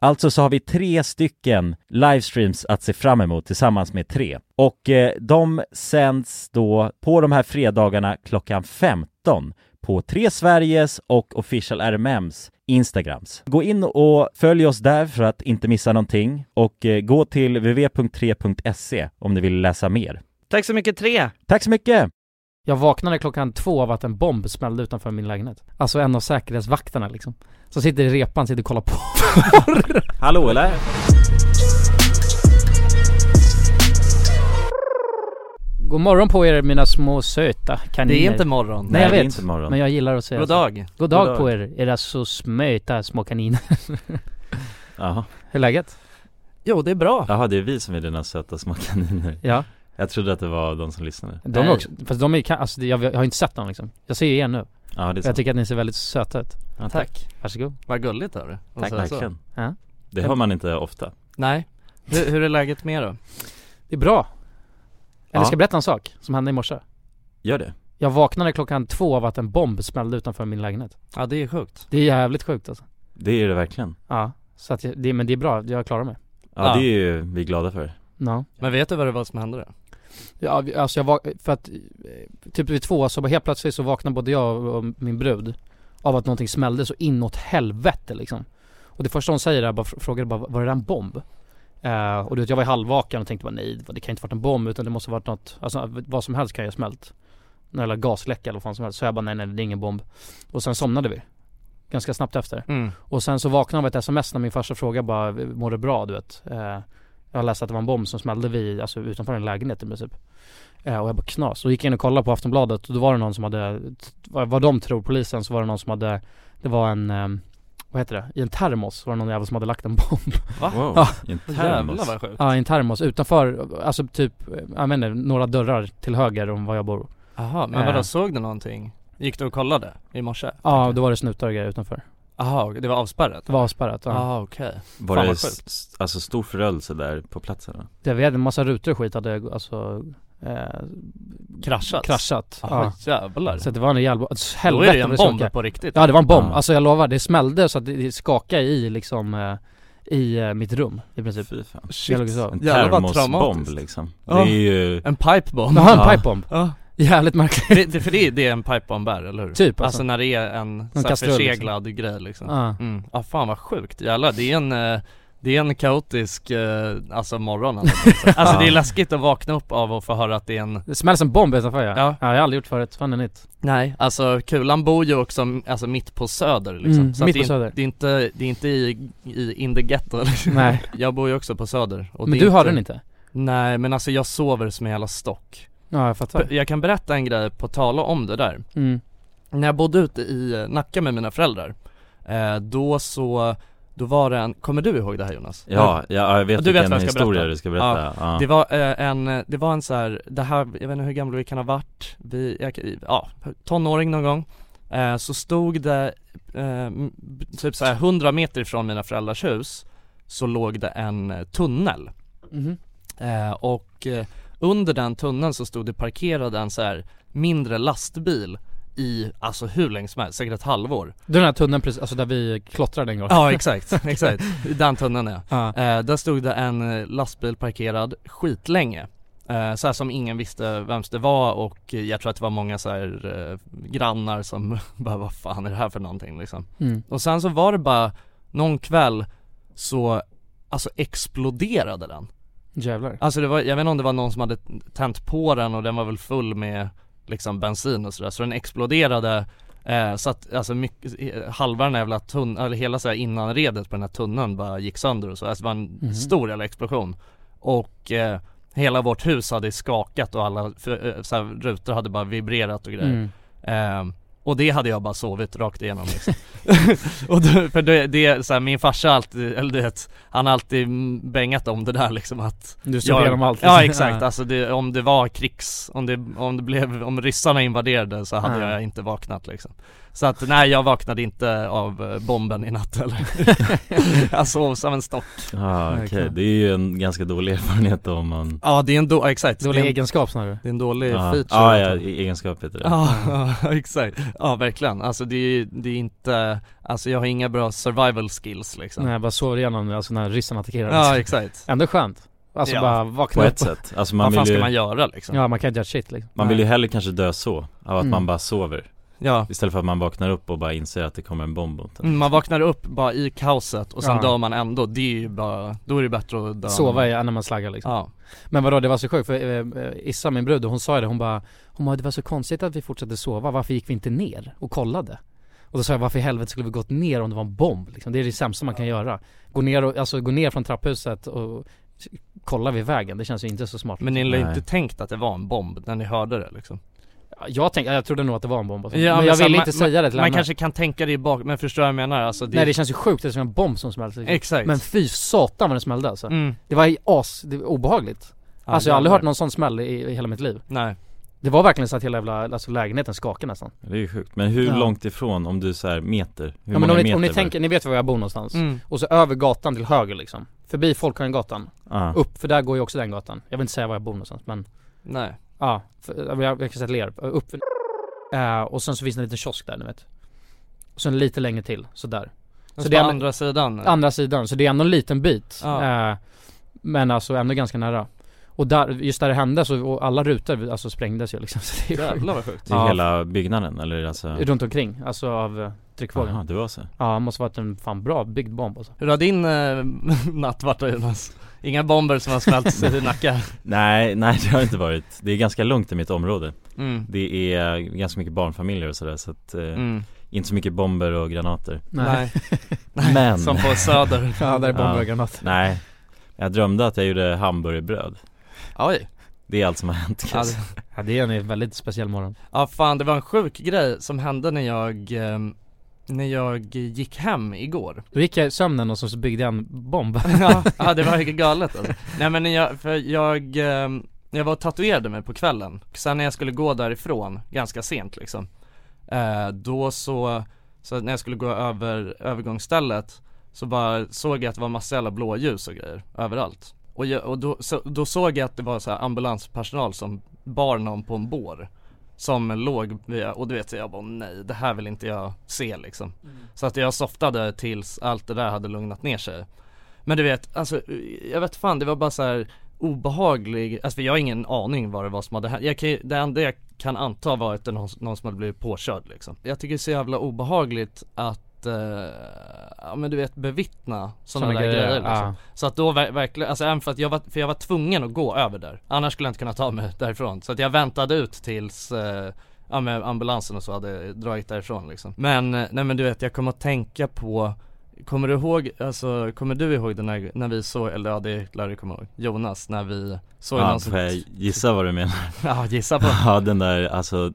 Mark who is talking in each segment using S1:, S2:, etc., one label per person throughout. S1: Alltså så har vi tre stycken livestreams att se fram emot tillsammans med tre. Och eh, de sänds då på de här fredagarna klockan 15 på Tre Sveriges och Official RMMs Instagrams. Gå in och följ oss där för att inte missa någonting och eh, gå till www.3.se E om ni vill läsa mer.
S2: Tack så mycket tre!
S1: Tack så mycket!
S3: Jag vaknade klockan två av att en bomb smällde utanför min lägenhet. Alltså en av säkerhetsvakterna liksom. Som sitter i repan, sitter och kollar på.
S1: Hallå eller?
S3: God morgon på er mina små söta kaniner.
S2: Det är inte morgon.
S3: Nej, jag
S1: det är
S3: vet.
S1: inte morgon.
S3: Men jag gillar att säga
S2: God
S3: så.
S2: dag!
S3: God dag.
S1: God dag.
S3: på er, era så smöta små kaniner.
S1: Jaha.
S3: Hur är läget?
S2: Jo, det är bra.
S1: Jaha, det är vi som är dina söta små kaniner.
S3: Ja.
S1: Jag trodde att det var de som lyssnade.
S3: De
S2: Nej.
S3: är också, fast de är ka- alltså, jag, jag har inte sett dem liksom. Jag ser ju er nu.
S1: Ja, det är
S3: Jag tycker att ni ser väldigt söta ut.
S1: Ja,
S2: Tack.
S3: Varsågod.
S2: Vad gulligt av dig. Och
S3: Tack.
S2: så- så.
S3: Ja.
S1: Det
S3: hör
S1: man inte ofta.
S2: Nej. Hur, hur är läget med er då?
S3: Det är bra. Eller
S1: Ja.
S3: ska jag berätta en sak som hände i morse?
S1: Gör det?
S3: Jag vaknade klockan två av att en bomb smällde utanför min lägenhet.
S2: Ja, det är sjukt.
S3: Det är jävligt sjukt alltså.
S1: Det är det verkligen.
S3: Ja, så att jag, det, men det är bra, jag klarar mig.
S2: Ja, Ja. det
S1: är ju vi glada för.
S3: Ja.
S2: Men vet du vad det var som hände då?
S3: ja, vi- alltså jag var, för att eh, typ vid två så bara helt plötsligt så vaknade både jag och min brud av att någonting smällde så inåt helvete liksom. Och det första hon säger är bara, frågade bara, var det där en bomb? Eh, och du vet jag var halvvaken och tänkte bara nej det kan inte varit en bomb utan det måste varit något, alltså vad som helst kan ju ha smält. Någon jävla gasläcka eller vad fan som helst. Så jag bara nej nej det är ingen bomb. Och sen somnade vi. Ganska snabbt efter.
S2: Mm.
S3: Och sen så vaknade jag av ett sms när min farsa frågade bara, mår du bra du vet? Eh, jag läste att det var en bomb som smällde vid, alltså utanför en lägenhet i princip. Eh, och jag bara knas. Och gick in och kollade på Aftonbladet och då var det någon som hade, vad vad de tror, polisen, så var det någon som hade, det var en, eh, vad heter det, i en termos var det någon jävel som hade lagt en bomb.
S2: Va?
S1: Wow,
S3: Ja.
S1: en
S2: Jävlar
S1: termos.
S2: vad sjukt.
S3: Ja, i en termos utanför, alltså typ, eh, jag menar, några dörrar till höger om var jag bor.
S2: Jaha, men
S3: Eh.
S2: vadå, såg du någonting? Gick du och kollade i morse?
S3: Ja, då var det snutar och grejer utanför.
S2: Jaha, det var avspärrat?
S3: Det var avspärrat. Ja.
S2: ah, okej.
S1: Var
S2: Fan,
S1: det
S2: vad
S1: s-
S2: sjukt.
S1: s- alltså stor förödelse där på platsen? då?
S3: Det, vi hade en massa rutor och skit hade alltså eh,
S2: Kraschat?
S3: kraschat.
S2: Ah,
S3: Ja.
S2: jävlar.
S3: Så det var en jävla, alltså,
S2: Då är
S3: helvete
S2: det ju en
S3: vad
S2: bomb
S3: skakade.
S2: på riktigt.
S3: Ja det var en bomb,
S1: Ja.
S3: alltså jag lovar, det smällde så att det- det skakade i liksom eh, i eh, mitt rum i
S2: Typ.
S3: princip
S1: Fy fan.
S3: Jag låg och sov.
S1: En
S2: Jävlar, vad
S1: termosbomb
S2: traumatiskt.
S1: liksom.
S2: Ja.
S1: Det är ju,
S2: En pipebomb?
S3: Jaha, en
S1: Ja.
S3: pipebomb,
S2: Ja.
S3: jävligt märkligt
S2: Det, det, för det är det är en pipebomb är, eller hur?
S3: Typ,
S2: alltså.
S3: alltså.
S2: när det är en så här,
S3: kastrull, liksom.
S2: förseglad grej liksom.
S3: Ja.
S2: Mm. Ah, fan vad sjukt, jävlar. Det är en, eh, det är en kaotisk, eh, alltså morgon alltså. alltså det är läskigt att vakna upp av och få höra att det är en
S3: Det smälls en bomb utanför ja.
S2: Ja.
S3: ja, jag har aldrig gjort förut, fan är nytt
S2: Nej, alltså Kulan bor ju också alltså, mitt på söder liksom.
S3: Mm,
S2: så att
S3: mitt
S2: det, är
S3: på
S2: in-
S3: Söder.
S2: det är inte, det är inte i, i in the ghetto liksom.
S3: Nej,
S2: Jag bor ju också på söder och
S3: men
S2: det är
S3: du har
S2: inte,
S3: den inte?
S2: Nej men alltså jag sover som en jävla stock
S3: Ja jag fattar
S2: Jag kan berätta en grej på tala om det där
S3: mm.
S2: När jag bodde ute i eh, Nacka med mina föräldrar eh, Då så, då var det en, kommer du ihåg det här Jonas?
S1: ja, ja jag vet
S2: Ja, du vet
S1: vilken
S2: vad jag ska
S1: historia
S2: berätta.
S1: du ska berätta. Ja.
S2: Det var eh, en, det var en så här, det här, jag vet inte hur gamla vi kan ha varit, vi, jag, ja, tonåring någon gång eh, Så stod det, eh, m- typ så här 100 meter ifrån mina föräldrars hus Så låg det en eh, tunnel
S3: Mhm.
S2: eh, och eh, under den tunneln så stod det parkerad en så här mindre lastbil i, alltså hur länge som helst, säkert ett halvår
S3: Den här tunneln precis, alltså där vi klottrade en gång
S2: Ja exakt, exakt, i den tunneln ja
S3: Ja.
S2: Eh, där stod det en eh, lastbil parkerad skitlänge. Eh, så här som ingen visste vems det var och eh, jag tror att det var många så här eh, grannar som bara vad fan är det här för någonting liksom.
S3: Mm.
S2: Och sen så var det bara någon kväll så alltså exploderade den.
S3: Jävlar
S2: Alltså det var, jag vet inte om det var någon som hade tänt på den och den var väl full med liksom bensin och sådär så den exploderade eh, så att alltså mycket, eh, halva den här jävla tunn, eller hela så här innanredet på den här tunneln bara gick sönder och så, alltså det var en
S3: Mhm.
S2: stor jävla explosion och eh, hela vårt hus hade skakat och alla för, eh, så här, rutor hade bara vibrerat och grejer
S3: mm.
S2: Ehm, och det hade jag bara sovit rakt igenom liksom. och då, för det, det är så här, min farsa alltid, eller du vet, han har alltid mm, bängat om det där liksom att
S3: Du såg igenom allt
S2: Ja exakt, alltså det, om det var krigs, om det, om det blev, om ryssarna invaderade så hade
S3: Ja.
S2: jag inte vaknat liksom Så att nej jag vaknade inte av eh, bomben i natt eller Jag sov som en stock
S1: Ja, okej,
S3: Verkligen.
S1: det är ju en ganska dålig erfarenhet om man
S2: Ja det är en då, exakt
S3: Dålig
S2: det, är en,
S3: egenskap snarare
S2: det är en dålig
S1: Ja,
S2: feature
S1: ja, ja, e- egenskap heter det
S2: Ja, ja, exakt, ja verkligen, alltså det är, det är inte, alltså jag har inga bra survival skills liksom
S3: Nej jag bara sov igenom alltså när ryssen attackerade
S2: Ja exakt,
S3: Ändå skönt, alltså
S2: Ja.
S3: bara
S1: På
S3: vakna upp
S1: ett sätt, alltså man
S2: vad fan
S1: vill
S2: ska
S1: ju,
S2: man
S1: man,
S2: göra liksom? Ja,
S3: Ja man kan inte göra shit liksom
S1: vill ju hellre kanske dö så, av att
S3: Mm.
S1: man bara sover Istället för att man vaknar upp och bara inser att det kommer en bomb mot en
S2: Mm, Man vaknar upp bara i kaoset och sen
S3: Ja.
S2: dör man ändå, det är ju bara, då är det bättre att dö
S3: Sova i, när man slaggar liksom
S2: Ja,
S3: Men vadå, det var så sjukt för eh, eh, Issa, min brud, hon sa ju det, hon bara Hon bara, det var så konstigt att vi fortsatte sova, varför gick vi inte ner och kollade? Och då sa jag, varför i helvete skulle vi gått ner om det var en bomb liksom? Det är det sämsta man kan göra Gå ner och, alltså gå ner från trapphuset och s- kolla vid vägen, det känns ju inte så smart
S2: men ni har ju
S1: Nej.
S2: inte tänkt att det var en bomb när ni hörde det liksom
S3: Jag tänkte, jag trodde nog att det var en bomb alltså.
S2: Ja,
S3: Men
S2: men
S3: jag
S2: så
S3: ville
S2: man-
S3: inte säga det till
S2: Man
S3: henne
S2: kanske kan tänka det i bak, men förstår vad jag menar? Alltså det,
S3: Nej det känns ju sjukt, det är som en bomb som smällde liksom.
S2: Exakt
S3: Men fy satan vad den smällde alltså
S2: mm.
S3: Det var ju as, det var obehagligt
S2: Ja,
S3: Alltså jag har aldrig
S2: jävlar.
S3: hört någon sån smäll i, i hela mitt liv
S2: Nej, det
S3: Det var verkligen så att hela jävla, alltså lägenheten skakade nästan
S1: Det är ju sjukt, men hur
S3: Ja.
S1: långt ifrån om du så här meter? Hur
S3: Ja, men
S1: många
S3: om ni,
S1: meter
S3: om ni
S1: var det?
S3: tänker, ni vet var jag bor någonstans.
S2: mm.
S3: Och så över gatan till höger liksom. Förbi Folkungagatan.
S1: Ja.
S3: Upp, för där går ju också den gatan. Jag vill inte säga var jag bor någonstans men,
S2: nej
S3: ja. För, jag, jag kan säga Lerup. Upp för, Eh, Och sen så finns det en liten kiosk där ni vet. Och sen lite längre till, så där.
S2: Så,
S3: Så
S2: det
S3: det
S2: är
S3: är-
S2: andra sidan?
S3: Andra sidan, så det är ändå en liten bit.
S2: Ja.
S3: Eh, Men alltså ändå ganska nära. Och där, just där det hände så, och alla rutor alltså sprängdes ju liksom så det är sjukt.
S2: Jävlar vad sjukt.
S1: Till
S3: Ja.
S1: hela byggnaden eller alltså?
S3: Runt omkring, alltså av eh, tryckvågen
S1: Jaha, det var så?
S3: Ja, måste varit en fan bra byggd bomb alltså.
S2: Hur har din eh, natt varit då, Jonas? Inga bomber som har smält sig i Nacka?
S1: Nej, nej det har det inte varit. Det är ganska lugnt i mitt område.
S2: Mm.
S1: Det är ganska mycket barnfamiljer och sådär så att, eh,
S2: Mm.
S1: inte så mycket bomber och granater.
S2: Nej.
S1: Men,
S2: Som på Söder.
S3: Ja, där är bomber
S1: Ja.
S3: och granater
S1: nej. Jag drömde att jag gjorde hamburgerbröd.
S2: Oj.
S1: Det är allt som har hänt kan
S2: Ja,
S1: jag
S2: det-
S1: säga.
S3: Ja, det är en väldigt speciell morgon
S2: Ja fan det var en sjuk grej som hände när jag, ehm, när jag gick hem igår
S3: Då gick jag i sömnen och så så byggde jag en bomb
S2: Ja, ja det var ju galet alltså. Nej men när jag, för jag, ehm, jag var och tatuerade mig på kvällen Sen när jag skulle gå därifrån, ganska sent liksom eh, Då så, så när jag skulle gå över övergångsstället Så bara såg jag att det var massa jävla blåljus och grejer överallt Och, jag, och då, så, då såg jag att det var så här ambulanspersonal som bar någon på en bår som låg vid, och du vet så jag bara nej det här vill inte jag se liksom Så att jag softade tills allt det där hade lugnat ner sig men du vet, alltså jag vet fan det var bara så här obehaglig, alltså för jag har ingen aning vad det var som hade hänt. Jag kan, ju- det enda jag kan anta var att det någon, någon som hade blivit påkörd liksom. Jag tycker det är så jävla obehagligt att, eh, ja men du vet bevittna sådana där
S3: Såna
S2: grejer,
S3: grejer,
S2: liksom.
S3: ja.
S2: Så att då ver- verkligen, alltså även för att jag var, för jag var tvungen att gå över där. Annars skulle jag inte kunna ta mig därifrån. Så att jag väntade ut tills eh, Ja men ambulansen och så hade dragit därifrån liksom. Men, eh, nej men du vet jag kommer att tänka på Kommer du ihåg, alltså kommer du ihåg den här, när vi såg, eller ja det lär du komma ihåg, Jonas när vi såg
S1: Ja,
S2: någon som
S1: får jag gissa vad du menar?
S2: Ja gissa på
S1: Ja den där, alltså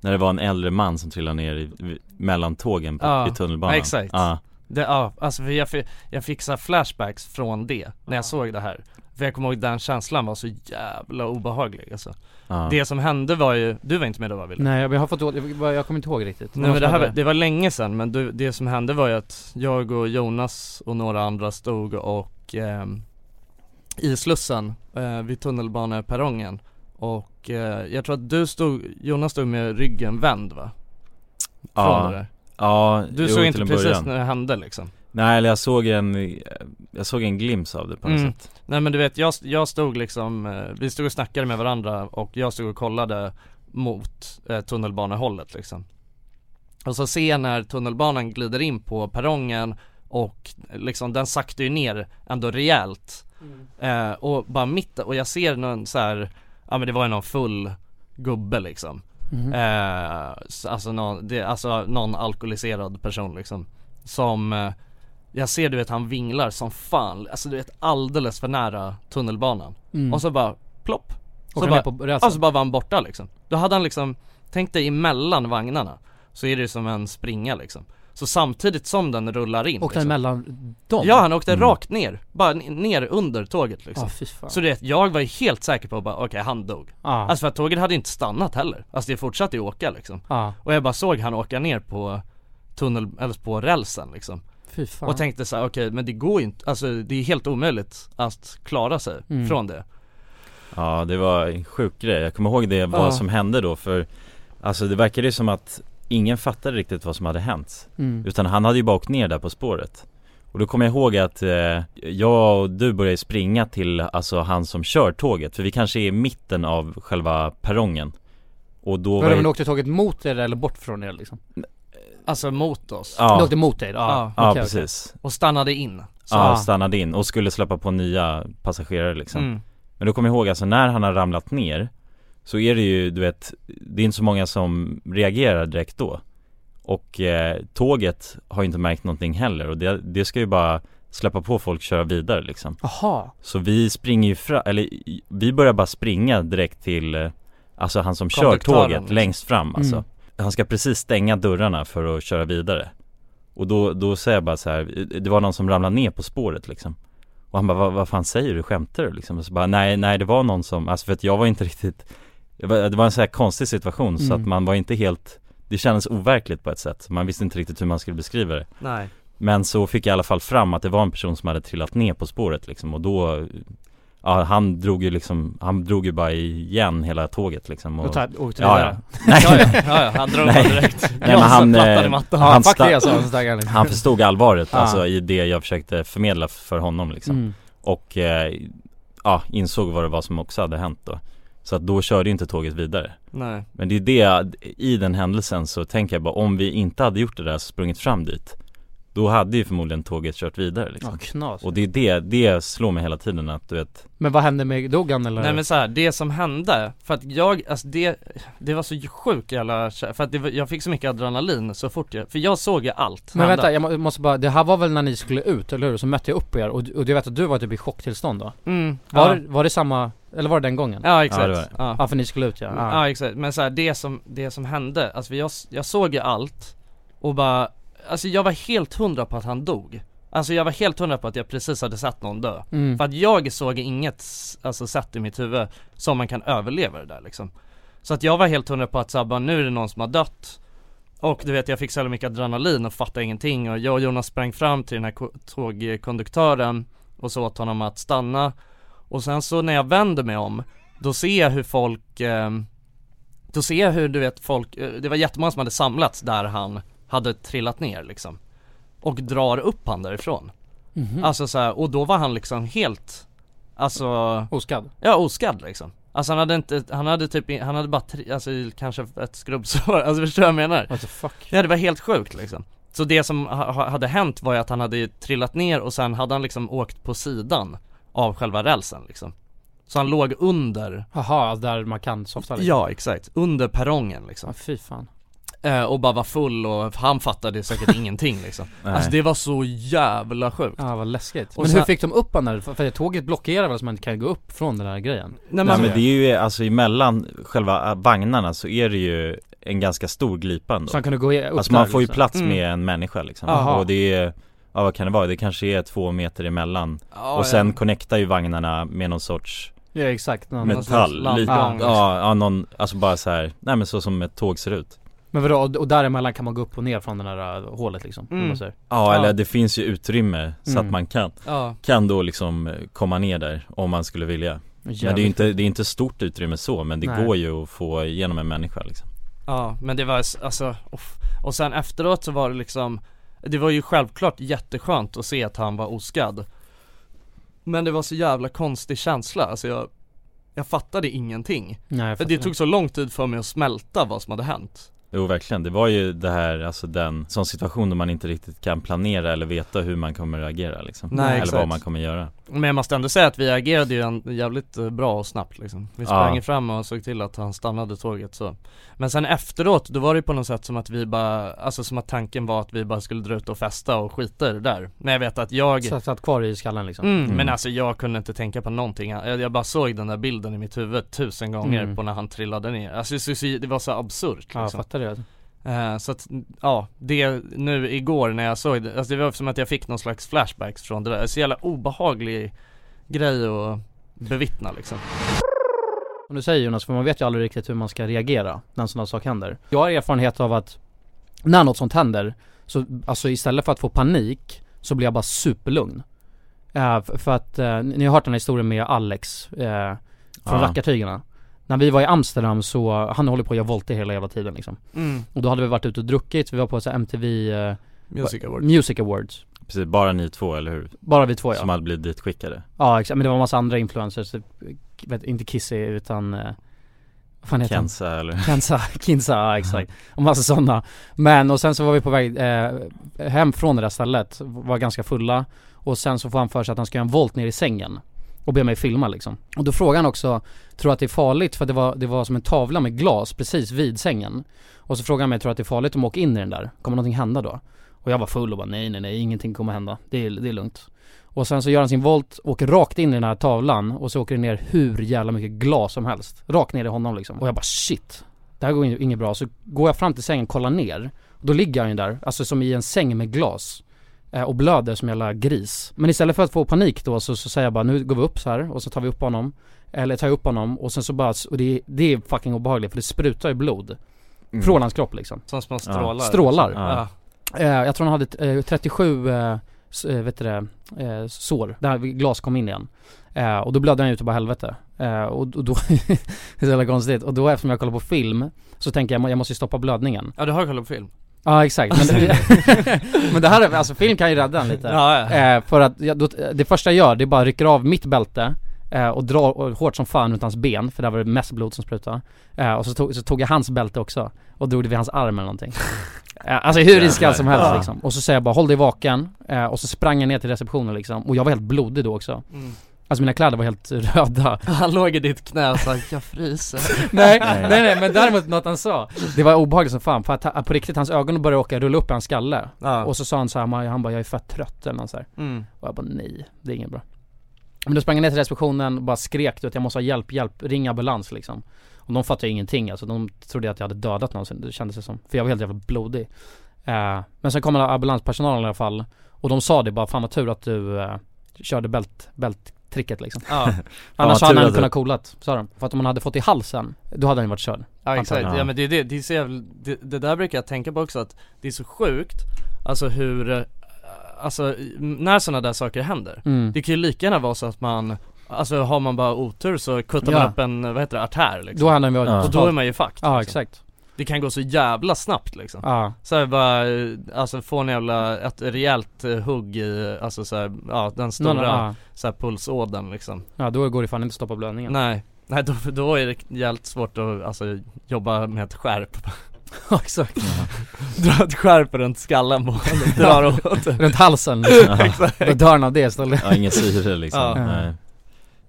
S1: när det var en äldre man som trillade ner i, mellan tågen på,
S2: Ja,
S1: i tunnelbanan
S2: exakt.
S1: Ja,
S2: det, ja, alltså för jag, fick, jag fick så här flashbacks från det, när jag såg det här För jag kommer ihåg den känslan var så jävla obehaglig alltså.
S1: ja.
S2: Det som hände var ju, du var inte med då va Wille?
S3: Nej, jag har fått å- jag, jag kommer inte ihåg riktigt
S2: Nej men det här var, det var länge sedan men du, det som hände var ju att jag och Jonas och några andra stod och ehm, i Slussen eh, vid tunnelbaneperrongen och eh, jag tror att du stod, Jonas stod med ryggen vänd va? Från
S1: Ja.
S2: det där.
S1: ja
S2: Du
S1: jo,
S2: såg
S1: till
S2: inte
S1: en
S2: precis
S1: början.
S2: när det hände liksom
S1: Nej eller jag såg en, jag såg en glimt av det på något
S2: Mm.
S1: sätt
S2: Nej men du vet, jag, jag stod liksom, eh, vi stod och snackade med varandra och jag stod och kollade mot eh, tunnelbanehållet liksom Och så ser jag när tunnelbanan glider in på perrongen och liksom den saktar ju ner ändå rejält eh, Och bara mitt, och jag ser någon så här, ja men det var ju någon full gubbe liksom eh, s- alltså, någon, det, alltså någon alkoholiserad person liksom Som eh, jag ser du vet han vinglar som fan, alltså du vet alldeles för nära tunnelbanan Och så bara plopp
S3: Och
S2: så
S3: han
S2: bara,
S3: är på rälsen.
S2: ja, så bara var han borta liksom Då hade han liksom, tänk dig emellan vagnarna Så är det ju som en springa liksom Så samtidigt som den rullar in
S3: Och den
S2: liksom.
S3: mellan dem?
S2: Ja han åkte rakt ner, bara n- ner under tåget liksom
S3: Ja, Ah, fy fan Ah.
S2: Så du vet, jag var ju helt säker på bara okej han dog
S3: Ja.
S2: Alltså för att tåget hade inte stannat heller Alltså det fortsatte ju åka liksom
S3: Ja,
S2: Och jag bara såg han åka ner på tunnel, eller på rälsen liksom
S3: fy fan
S2: och tänkte så här, okej men det går ju inte, alltså det är helt omöjligt att klara sig
S3: Mm.
S2: från det
S1: Ja det var en sjuk grej, jag kommer ihåg det, vad
S2: Ja.
S1: som hände då för Alltså det verkade ju som att ingen fattade riktigt vad som hade hänt
S3: Mm.
S1: Utan han hade ju bara åkt ner där på spåret Och då kommer jag ihåg att eh, jag och du började springa till alltså han som kör tåget För vi kanske är i mitten av själva perrongen Och då
S3: Var
S1: var
S3: det men
S1: det,
S3: åkte tåget mot er eller bort från er liksom?
S2: Alltså mot oss
S3: Det
S1: ja,
S3: åkte mot er? Ja,
S1: ja
S3: okej, okej.
S1: precis
S2: och stannade in så,
S1: Ja,
S3: Ah.
S1: stannade in och skulle släppa på nya passagerare liksom
S2: mm.
S1: Men då kommer jag ihåg alltså när han har ramlat ner Så är det ju, du vet, det är inte så många som reagerar direkt då Och eh, tåget har ju inte märkt någonting heller och det, det ska ju bara släppa på folk och köra vidare liksom
S3: Jaha,
S1: Så vi springer ju fram, eller i- vi börjar bara springa direkt till eh, Alltså han som kör
S2: Konduktören,
S1: tåget
S2: liksom.
S1: längst fram alltså
S3: Mm.
S1: Han ska precis stänga dörrarna för att köra vidare Och då, då säger jag bara så här, det var någon som ramlade ner på spåret liksom Och han bara, vad, vad fan säger du, skämtar du liksom? Och så bara, nej, nej det var någon som, alltså för att jag var inte riktigt Det var, det var en så här konstig situation så
S3: Mm.
S1: att man var inte helt Det kändes overkligt på ett sätt, man visste inte riktigt hur man skulle beskriva det
S2: Nej
S1: men så fick jag i alla fall fram att det var en person som hade trillat ner på spåret liksom och då Ja han drog ju liksom, han drog ju bara igen hela tåget liksom och,
S3: då tar, åkte
S1: Ja,
S3: vi
S1: ja.
S3: där
S1: Nej,
S2: Ja ja, ja, ja han drog bara
S1: Nej.
S2: direkt
S1: nej men han,
S2: plattan i
S1: eh,
S2: mattan
S1: han,
S3: Fuck det
S1: sta-
S3: alltså, så taggade
S1: han förstod allvaret
S3: Ah.
S1: alltså i det jag försökte förmedla för honom liksom
S3: mm.
S1: Och eh, ja, insåg vad det var som också hade hänt då Så att då körde ju inte tåget vidare
S2: Nej.
S1: Men det är det, i den händelsen så tänker jag bara om vi inte hade gjort det där och sprungit fram dit Då hade ju förmodligen tåget kört vidare liksom.
S3: Ja, knas.
S1: Och det är det, det slår mig hela tiden att du vet
S3: Men vad hände med Dogan eller?
S2: Nej men så här, det som hände, för att jag, alltså det, det var så sjukt jävla, för att det var, jag fick så mycket adrenalin så fort jag, för jag såg ju allt
S3: Men
S2: hända.
S3: vänta, jag må- måste bara, det här var väl när ni skulle ut, eller hur? Så mötte jag upp er och, och du vet att du var typ i chocktillstånd då?
S2: Mm,
S3: Var,
S2: ja.
S3: det, var det samma, eller var det den gången? Ja,
S2: ja exakt,
S1: Ja,
S2: ja,
S1: det var det.
S2: Ja.
S3: för ni skulle ut ja. ja.
S2: ja exakt, men så här, det som, det som hände, alltså jag, jag såg ju allt och bara, alltså jag var helt hundra på att han dog Alltså jag var helt hundra på att jag precis hade sett någon dö
S3: Mm.
S2: För att jag såg inget, alltså sätt i mitt huvud som man kan överleva det där liksom Så att jag var helt hundra på att så här, bara, nu är det någon som har dött Och du vet jag fick så jävla mycket adrenalin och fattade ingenting och jag och Jonas sprang fram till den här ko- tågkonduktören Och så åt honom att stanna Och sen så när jag vänder mig om Då ser jag hur folk ehm, Då ser jag hur du vet folk, eh, det var jättemånga som hade samlats där han hade trillat ner liksom Och drar upp han därifrån Alltså så här, och då var han liksom helt Alltså
S3: Oskadd?
S2: Ja, oskadd liksom. Alltså han hade inte, han hade typ, in- han hade bara tre, alltså kanske ett skrubbsår, alltså förstår du vad jag menar?
S3: What the fuck?
S2: Ja det var helt sjukt liksom. Så det som ha, ha- hade hänt var ju att han hade ju trillat ner och sen hade han liksom åkt på sidan av själva rälsen liksom. Så han låg under,
S3: Jaha, alltså där man kan softa lite?
S2: ja exakt, under perrongen liksom.
S3: Ja, fy fan.
S2: Eh, och bara var full och han fattade säkert ingenting liksom.
S1: Nej.
S2: Alltså det var så jävla sjukt.
S3: Ja, vad läskigt.
S2: Och
S3: men
S2: sen-
S3: hur fick de upp honom där? För för tåget blockerar väl så man inte kan gå upp från den där grejen?
S1: Nej
S2: Nej, men,
S1: men det är ju alltså emellan själva äh, vagnarna så är det ju en ganska stor glipa ändå
S3: Så han kunde gå i- upp
S1: Alltså man
S3: där,
S1: får ju
S3: liksom.
S1: plats
S2: Mm.
S1: med en människa liksom
S3: Aha.
S1: Och det är, ja vad kan det vara? Det kanske är två meter emellan
S2: Ja,
S1: Och sen
S2: ja.
S1: connectar ju vagnarna med någon sorts
S3: Ja exakt, någon,
S2: Men-
S1: metall,
S2: sladdgång,
S1: lite,
S3: liksom.
S1: ja, ja någon, alltså bara så här, nej men så som ett tåg ser ut
S3: men vadå, och- och däremellan kan man gå upp och ner från det där äh, hålet liksom?
S2: Mm.
S3: om man säger.
S1: Ja
S2: Ja.
S1: eller det finns ju utrymme så
S3: Mm.
S1: att man kan,
S2: ja.
S1: kan då liksom eh, komma ner där om man skulle vilja Men det är ju inte, det är inte stort utrymme så men det
S3: Nej.
S1: går ju att få igenom en människa liksom
S2: Ja men det var s- alltså, uff. och sen efteråt så var det liksom Det var ju självklart jätteskönt att se att han var oskadd Men det var så jävla konstig känsla, alltså jag Jag fattade ingenting
S3: Nej, jag
S2: För
S3: fattar
S2: Det tog så lång tid för mig att smälta vad som hade hänt
S1: Jo verkligen, det var ju det här, alltså den, sån situation där man inte riktigt kan planera eller veta hur man kommer reagera liksom
S2: Nej,
S1: Eller
S2: exakt.
S1: vad man kommer göra
S2: Men jag måste ändå säga att vi agerade ju en, jävligt eh, bra och snabbt liksom Vi
S1: Ja.
S2: sprang ju fram och såg till att han stannade tåget så Men sen efteråt, då var det ju på något sätt som att vi bara Alltså som att tanken var att vi bara skulle dra ut och festa och skita i det där Men jag vet att jag
S3: Så satt kvar i skallen liksom?
S2: Mm,
S1: Mm.
S2: Men alltså jag kunde inte tänka på någonting, jag jag bara såg den där bilden i mitt huvud tusen gånger
S3: Mm.
S2: på när han trillade ner Alltså så, så, det var så absurt
S3: Ja, jag
S2: liksom.
S3: fattar det.
S2: Eh, Så att, ja, det nu igår när jag såg det, alltså det var som att jag fick någon slags flashbacks från det där, så jävla obehaglig grej att bevittna liksom
S3: Och nu säger Jonas, för man vet ju aldrig riktigt hur man ska reagera när en sån här sak händer. Jag har erfarenhet av att när något sånt händer, så alltså istället för att få panik så blir jag bara superlugn. Eh, f- för att, eh, ni har hört den här historien med Alex eh, från
S1: Ja.
S3: Rackartygarna. När vi var i Amsterdam så, han håller på att göra volter hela jävla tiden liksom.
S2: mm.
S3: Och då hade vi varit ute och druckit, vi var på så här MTV eh,
S2: Music Award
S3: Music Awards.
S1: Precis, bara ni två eller hur?
S3: Bara vi två ja.
S1: Som hade blivit ditskickade
S3: Ja exakt, men det var en massa andra influencers, typ, vet, inte Kissy utan, eh, vad fan heter han?
S1: Kensa eller?
S3: Kensa, Kinsa, ja exakt. Och massa sådana. Men och sen så var vi på väg eh, hem från det där stället, var ganska fulla. Och sen så får han för sig att han ska göra en volt ner i sängen. Och ber mig filma liksom. Och då frågar han också, tror du att det är farligt? För det var, det var som en tavla med glas precis vid sängen. Och så frågar han mig, tror du att det är farligt om jag åker in i den där? Kommer någonting hända då? Och jag var full och bara, nej nej nej, ingenting kommer hända. Det är, det är lugnt. Och sen så gör han sin volt, åker rakt in i den här tavlan och så åker det ner hur jävla mycket glas som helst. Rakt ner i honom liksom. Och jag bara shit, det här går in- inget bra. Så går jag fram till sängen, kollar ner. Då ligger han ju där, alltså som i en säng med glas. eh, Och blöder som en jävla gris. Men istället för att få panik då så, så säger jag bara nu går vi upp så här och så tar vi upp honom. Eller tar jag upp honom och sen så bara, och det, det är fucking obehagligt för det sprutar ju blod. Från hans kropp liksom.
S2: Som små strålar
S3: Strålar.
S2: Ja, ja.
S3: Eh, jag tror han hade eh, 37, eh, s- eh, vet du det, eh, sår, där glas kom in igen. Eh, och då blödde han ut och bara helvete. Eh, och, och då, det är så jävla konstigt. Och då eftersom jag kollar på film så tänker jag, "Må- jag måste ju stoppa blödningen.
S2: du har kollat på film?
S3: Ja exakt, men, det- men det här, är- alltså film kan ju rädda en lite.
S2: Ja, ja.
S3: Eh, för att jag, då, det första jag gör, det är bara rycker av mitt bälte eh, och drar och, hårt som fan runt hans ben, för där var det mest blod som sprutade. Eh, och så tog, så tog jag hans bälte också, och drog det vid hans arm eller någonting. Eh, alltså hur riskabelt som helst
S1: Ja.
S3: liksom. Och så säger jag bara håll dig vaken, eh, och så sprang jag ner till receptionen liksom. Och jag var helt blodig då också.
S2: Mm.
S3: Alltså mina kläder var helt röda.
S2: Han låg i ditt knä och sa 'Jag fryser'
S3: nej, nej, nej, men däremot något han sa. Det var obehagligt som fan, för att ha- på riktigt hans ögon började åka rulla upp i hans skalle.
S2: Ja,
S3: Och så sa han så här, man- han bara jag är fett trött eller något så här.
S2: mm.
S3: Och jag bara nej, det är inget bra. Men då sprang jag ner till receptionen och bara skrek du vet, jag måste ha hjälp, hjälp, ring ambulans liksom. Och de fattade ju ingenting alltså, de trodde att jag hade dödat någon, så det kändes det som. För jag var helt jävla blodig. Eh, men sen kom ambulanspersonalen i alla fall. Och de sa det bara, fan vad tur att du eh, körde bält, bälttricket liksom.
S2: ja,
S3: Annars
S4: tur
S3: hade han
S4: att du-
S3: kunnat coolat, sa de. För att om han hade fått i halsen, då hade han ju varit körd.
S2: ja exakt,
S4: Antagligen.
S2: ja men det är det, det är så jävla, det, det där brukar jag tänka på också att det är så sjukt Alltså hur, eh, alltså när sådana där saker händer
S3: Mm.
S2: Det kan ju lika gärna vara så att man, alltså har man bara otur så kuttar
S3: Ja.
S2: man upp en, vad heter det, artär liksom
S3: Då hade han ju varit
S1: Ja.
S2: Och
S3: totalt...
S2: då är man ju fucked
S3: Ja
S2: liksom.
S3: exakt.
S2: Det kan gå så jävla snabbt liksom
S3: Ja.
S2: Så här bara, eh, alltså få en jävla, ett rejält eh, hugg i, alltså så här, ja den stora
S3: Någon- ja.
S2: så här pulsådern liksom
S3: ja, då går det fan inte att stoppa blödningen.
S2: Nej, nej då, då är det jävligt svårt att alltså, jobba med ett skärp
S3: Ja exakt.
S2: Dra ett skärp runt skallen på honom, drar åt den.
S3: Runt halsen liksom.
S4: Ja.
S3: Då dör han av det istället.
S4: Ja, ingen syre liksom
S2: Ja.
S4: Nej.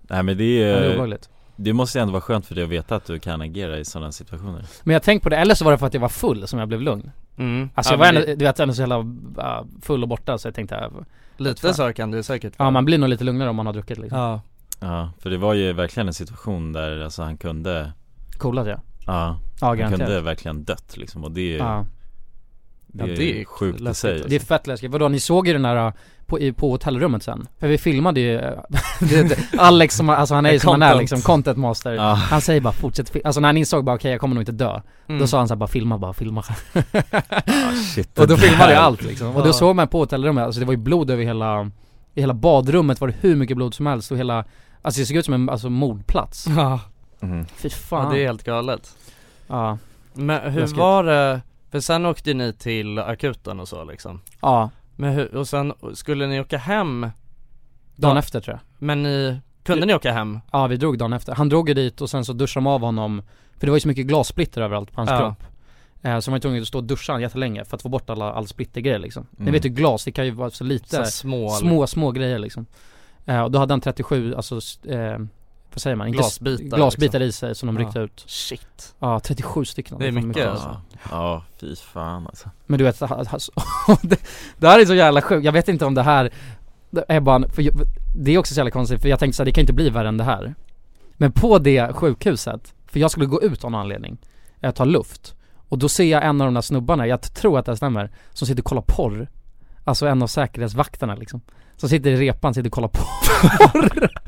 S4: Nej men det
S3: Ja, det är
S4: är ju,
S3: obehagligt.
S4: det måste ju ändå vara skönt för dig att veta att du kan agera i sådana situationer
S3: Men jag tänkte på det, eller så var det för att jag var full som jag blev lugn.
S2: Mm. Ja,
S3: Alltså jag var
S2: men
S3: ändå, du vet ändå så jävla äh, full och borta så jag tänkte, äh,
S2: det- Lite så kan du säkert
S3: ja man blir nog lite lugnare om man har druckit liksom.
S2: Ja,
S4: Ja, för det var ju verkligen en situation där alltså han kunde
S3: Coolat ja.
S4: Ja,
S3: Ja
S4: han kunde
S3: garanterat.
S4: verkligen dött liksom och det är ju,
S3: Ja.
S4: det är,
S2: Ja, det är
S4: sjukt i
S2: läskigt,
S4: sig
S3: Det är fett läskigt. Vadå, ni såg ju den där äh, på, i, på hotellrummet sen? För vi filmade ju, äh, det, det, Alex som, alltså han är ju som han är
S2: Content.
S3: liksom, content master.
S4: Ja.
S3: Han säger bara fortsätt fil-" alltså när han insåg bara okej jag kommer nog inte dö,
S2: Mm.
S3: då sa han såhär bara filma bara, filma.
S4: Shit,
S3: och då
S4: det där.
S3: filmade jag allt liksom. Och
S2: Ja.
S3: då såg man på hotellrummet, alltså det var ju blod över hela, i hela badrummet var det hur mycket blod som helst och hela, alltså det såg ut som en alltså, mordplats.
S2: ja.
S4: Mm.
S3: Fy
S2: ja
S3: fan.
S2: det är helt galet
S3: Ja,
S2: Men hur
S3: Läskigt.
S2: var det, för sen åkte ni till akuten och så liksom
S3: ja.
S2: Men hur, och sen skulle ni åka hem,
S3: Dagen
S2: Ja.
S3: efter tror jag.
S2: men ni, kunde ni åka hem?
S3: Ja vi drog dagen efter. Han drog ju dit och sen så duschade de av honom, för det var ju så mycket glassplitter överallt på hans
S2: Ja.
S3: kropp. Eh, så man var ju tvungen att stå och duscha han jättelänge för att få bort alla, all splittergrejer liksom. Ni
S4: Mm.
S3: vet ju glas, det kan ju vara så
S2: Så här
S3: lite,
S2: små,
S3: små, små grejer liksom. Eh, och då hade han 37, alltså, s- eh, vad säger man? Inte s-
S2: Glasbitar, liksom.
S3: Glasbitar i sig som de
S2: Ja.
S3: ryckte ut.
S2: Shit
S3: Ja, 37 stycken.
S2: Det är
S3: fan
S2: mycket,
S3: alltså.
S4: Ja, ja fy fan alltså
S3: Men du vet, ha- ha- så- det, det här är så jävla sjukt, jag vet inte om det här det är bara, en- för jag, det är också så jävla konstigt för jag tänkte så här, det kan inte bli värre än det här Men på det sjukhuset, för jag skulle gå ut av någon anledning, jag tar luft Och då ser jag en av de där snubbarna, jag tror att det här stämmer, som sitter och kollar porr Alltså en av säkerhetsvakterna liksom Som sitter i repan, sitter och kollar porr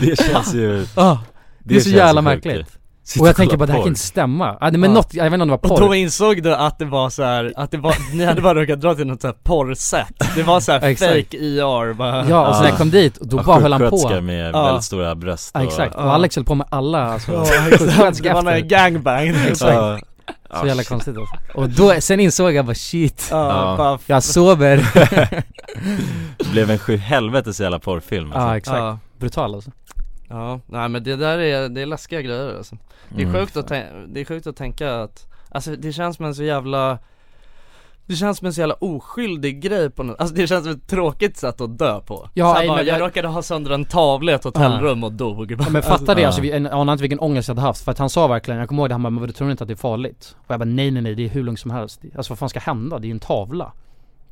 S4: Det känns ju,
S3: ah, Det är så
S4: känns
S3: jävla
S4: ju sjukt,
S3: märkligt.
S4: ju.
S3: Och jag tänker
S4: Kolla
S3: bara det här
S4: porr.
S3: kan inte stämma, ah, nej, men
S2: Ja.
S3: något, jag vet inte om det var
S2: Och
S3: porr
S2: då insåg du att det var så här, att det var, ni hade bara råkat dra till något såhär porrset Det var såhär
S3: Ja, exakt.
S2: fake IR bara
S3: Ja och så när jag
S4: Ah.
S3: kom dit, och då
S4: Ja,
S3: bara höll han på
S4: sjuksköterska med
S2: Ja.
S4: väldigt stora bröst
S3: Ja exakt,
S2: Ja.
S3: och Alex höll på med alla alltså,
S2: Ja,
S3: sjuksköterska
S2: Det var när
S3: efter.
S2: gangbang
S3: Exakt.
S4: Ja.
S3: Så jävla konstigt alltså. Och då, sen insåg jag bara shit,
S2: Ja,
S4: Ja.
S2: bara f-
S3: jag sover.
S4: Det blev en sju helvetes jävla porrfilm alltså.
S3: Ja exakt,
S2: ja.
S3: brutal alltså.
S2: ja, nej men det där är, det är läskiga grejer alltså. Det är
S4: Mm.
S2: sjukt att, tän- det är sjukt att tänka att, alltså det känns som en så jävla det känns som en så jävla oskyldig grej på något, alltså det känns som ett tråkigt sätt att dö på
S3: Ja,
S2: Så här
S3: nej,
S2: bara,
S3: men
S2: jag
S3: jag-
S2: råkade ha sönder en tavla i ett hotellrum och dog
S3: Ja, men fatta det
S4: Ja.
S3: alltså, vi jag anar inte vilken ångest jag hade haft. För att han sa verkligen, jag kommer ihåg det, han bara 'men du tror inte att det är farligt?' Och jag bara 'nej nej nej, det är hur lugnt som helst' Alltså vad fan ska hända? Det är ju en tavla.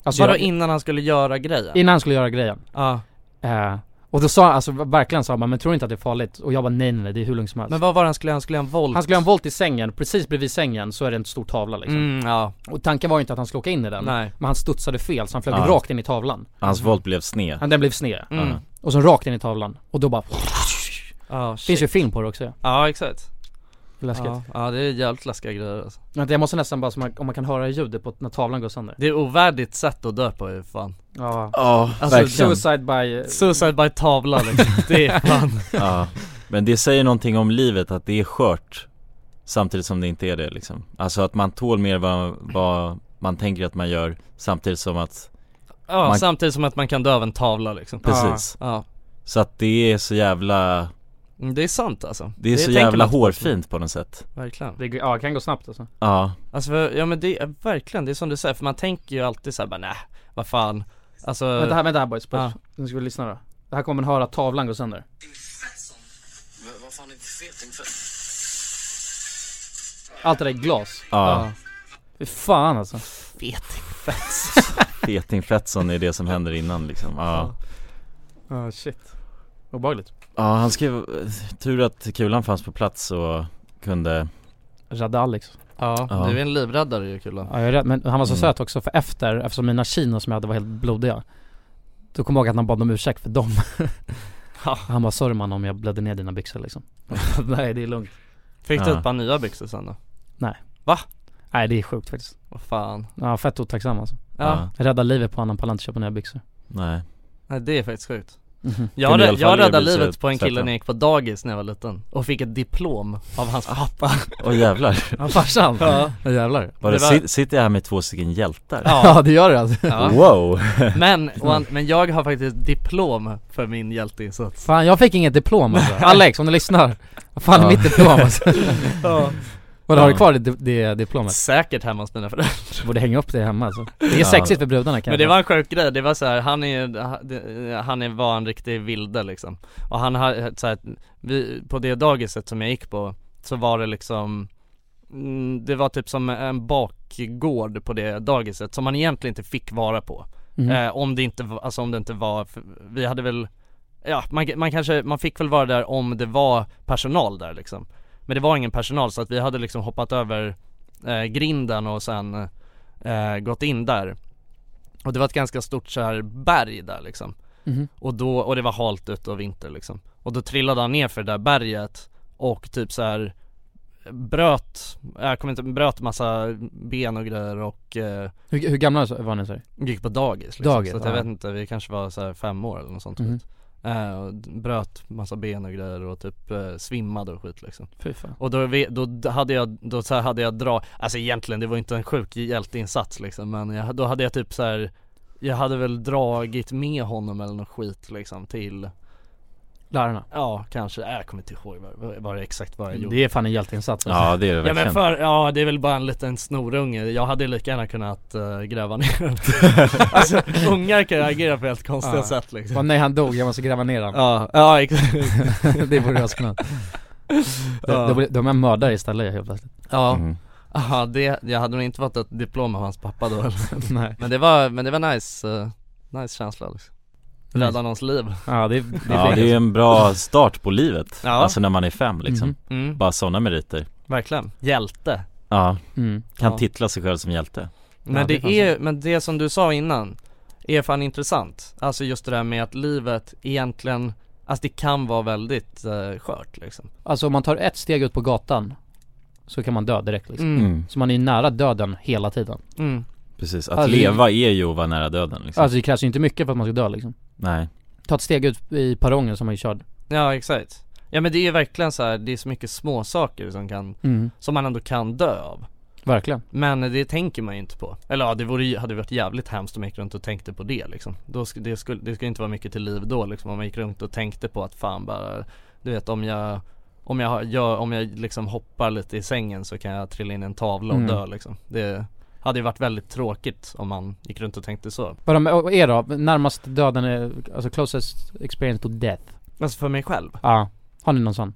S3: Alltså,
S2: Bara
S3: jag,
S2: innan han skulle göra grejen?
S3: innan han skulle göra grejen.
S2: ja.
S3: Eh, och då sa han, alltså verkligen sa han bara, 'men tror inte att det är farligt?' Och jag bara 'nej nej nej, det är hur lugnt som helst'
S2: Men vad var det han skulle göra? Han skulle göra en volt?
S3: Han skulle göra en volt i sängen, precis bredvid sängen så är det en stor tavla liksom.
S2: Mm, ja,
S3: Och tanken var ju inte att han skulle åka in i den.
S2: nej
S3: Men han studsade fel så han flög
S4: Ja.
S3: rakt in i tavlan.
S4: Hans volt blev sned
S3: Han, den blev sned.
S2: mm.
S4: Ja.
S3: Och så rakt in i tavlan. Och då bara,
S2: Ja,
S3: finns
S2: shit.
S3: ju film på det också ja.
S2: ja exakt
S3: Läskigt.
S2: ja. ja, det är jävligt läskiga grejer alltså.
S3: Vänta, jag måste nästan bara, så man, om man kan höra ljudet på när tavlan går sönder.
S2: Det är ovärdigt sätt att dö på ju fan
S3: Ja.
S4: Ja,
S2: Alltså,
S4: verkligen
S3: Suicide by... eh,
S2: Suicide by tavla liksom, det är fan
S4: ja. Men det säger någonting om livet att det är skört Samtidigt som det inte är det liksom Alltså att man tål mer vad, vad man tänker att man gör Samtidigt som att,
S2: Ja,
S4: Man-
S2: samtidigt som att man kan dö av en tavla liksom
S4: precis
S2: Ja,
S4: Så att det är så jävla,
S2: Mm, Det är sant alltså.
S4: det är så
S2: tänker
S4: jävla
S2: man inte på.
S4: hårfint på något sätt
S2: Verkligen.
S3: Det, ja, det kan gå snabbt alltså.
S4: Ja,
S2: Alltså för, ja men det, är- verkligen, det är som du säger, för man tänker ju alltid såhär bara nej, vad fan Alltså,
S3: Vänta här, vänta här boys,
S2: Ja.
S3: boys. nu ska vi lyssna då. Det här kommer man höra tavlan gå sönder. Allt det där i glas.
S4: ja,
S3: Fy fan alltså.
S4: Feting Fettsson är det som händer innan liksom, ja
S3: Ja shit. Obehagligt.
S4: Ja han skrev, tur att kulan fanns på plats och kunde,
S3: Rädda Alex.
S2: ja,
S4: Ja.
S2: du är en livräddare ju Kulan
S3: Ja, jag är rädd, men han var så
S4: Mm.
S3: söt också för efter, eftersom mina chinos som jag hade var helt blodiga Då kom jag ihåg att han bad om ursäkt för dem
S2: Ja.
S3: Han bara 'Sorry man om jag blödde ner dina byxor' liksom Nej det är lugnt
S2: Fick du
S4: Ja.
S2: ett par nya byxor sen då?
S3: Nej det är sjukt faktiskt
S2: Vad fan
S3: Ja fett otacksam alltså
S2: Ja,
S4: Ja.
S3: Rädda livet på honom, pallar inte köpa nya byxor
S4: nej
S2: Nej, det är faktiskt sjukt
S3: Mhm.
S2: Jag,
S4: Kunde i
S2: rä-
S4: alla fall
S2: jag räddade
S4: erbjuda sig
S2: livet på en kille
S4: tvätten.
S2: när jag gick på dagis när jag var liten och fick ett diplom av hans
S3: Ah.
S2: pappa
S4: Åh jävlar,
S3: Ja farsan, ja jävlar
S4: Bara,
S2: Det var-
S4: sit- sitter jag här med två stycken hjältar?
S3: Ja det gör det alltså
S2: ja.
S4: Wow!
S2: men, och han, men jag har faktiskt ett diplom för min hjälteinsats
S3: Fan jag fick inget diplom alltså. Alex om du lyssnar, vad fan är mitt diplom alltså? Och har du kvar det, det diplomet?
S2: Säkert hemma hos mina föräldrar
S3: Du borde hänga upp det hemma alltså Det är
S4: Ja.
S3: sexigt för brudarna kan
S2: Men
S3: jag
S2: det
S3: säga.
S2: var en sjuk grej, det var så här, han är han är, var en riktig vilde liksom Och han har, så här, vi, på det dagiset som jag gick på Så var det liksom mm, Det var typ som en bakgård på det dagiset som man egentligen inte fick vara på
S3: Mhm.
S2: eh, Om det inte, var- alltså om det inte var, för vi hade väl Ja man, man kanske, man fick väl vara där om det var personal där liksom Men det var ingen personal så att vi hade liksom hoppat över eh, grinden och sen eh, gått in där och det var ett ganska stort så här berg där liksom
S3: Mhm.
S2: Och då, och det var halt ute och vinter liksom Och då trillade han ner för det där berget Och typ så här Bröt, jag kommer inte, bröt massa ben och grejer och eh,
S3: Hur, hur gamla var ni sa du?
S2: Gick på dagis liksom
S3: Dagis,
S2: Så att jag
S3: ja.
S2: vet inte, vi kanske var så här fem år eller något sånt
S3: Mhm.
S2: eh, och d- Bröt massa ben och grejer och typ eh, svimmade och skit liksom
S3: Fy fan
S2: och då, vi- då d- hade jag, då så här hade jag dra, alltså egentligen det var inte en sjuk hjälteinsats liksom men jag, då hade jag typ så här. Jag hade väl dragit med honom eller något skit liksom till,
S3: Lärarna
S2: ja kanske, äh, jag kommer inte ihåg vad, vad, vad det exakt vad jag gjorde
S3: Det är fan en hjälteinsats alltså.
S4: Ja det är det
S2: Ja
S4: verkligen
S2: men för, ja det är väl bara en liten snorunge, jag hade lika gärna kunnat eh, gräva ner den Alltså ungar kan ju agera på helt konstiga
S3: Ja.
S2: sätt liksom
S3: Åh, nej han dog, jag måste gräva ner honom
S2: Ja, ja exakt
S3: Det borde jag också kunnat
S2: Ja.
S3: De- de- De är mördare istället helt plötsligt
S2: Ja,
S4: Mm.
S2: aha, det, jag hade nog inte fått ett diplom av hans pappa då eller?
S3: Nej
S2: Men det var, men det var nice, eh, nice känsla liksom Rädda någons liv
S3: Ja det är, det är
S4: Ja
S3: fint.
S4: det är en bra start på livet,
S2: Ja.
S4: alltså när man är fem liksom
S3: Mhm.
S2: mm,
S4: Bara sådana meriter
S2: Verkligen, hjälte
S4: Ja,
S3: Mm.
S4: kan
S2: Ja.
S4: titla sig själv som hjälte
S2: Men
S3: Ja, det
S2: det,
S3: är fan
S2: är, men det som du sa innan Är fan intressant Alltså just det där med att livet egentligen Alltså det kan vara väldigt eh, skört liksom
S3: Alltså om man tar ett steg ut på gatan Så kan man dö direkt liksom
S2: mm.
S3: Så man är ju nära döden hela tiden
S2: Mm.
S4: Precis, att
S3: Alltså,
S4: leva är ju att vara nära döden liksom
S3: Alltså det krävs ju inte mycket för att man ska dö liksom
S4: Nej,
S3: Ta ett steg ut i perrongen som man är körd
S2: Ja exakt Ja men det är ju verkligen så här, det är så mycket små saker som kan
S3: mm.
S2: Som man ändå kan dö av
S3: Verkligen
S2: Men det tänker man ju inte på Eller ja, det vore, ju- hade varit jävligt hemskt om man gick runt och tänkte på det liksom då sk- det, skulle, det skulle inte vara mycket till liv då liksom Om man gick runt och tänkte på att fan bara Du vet om jag Om jag, har- gör, om jag liksom hoppar lite i sängen så kan jag trilla in i en tavla och
S3: Mm.
S2: dö liksom Det hade ju varit väldigt tråkigt om man gick runt och tänkte så
S3: Vad med och er då? Närmast döden är, alltså closest experience to death
S2: Alltså för mig själv
S3: Ja, har ni någon sån?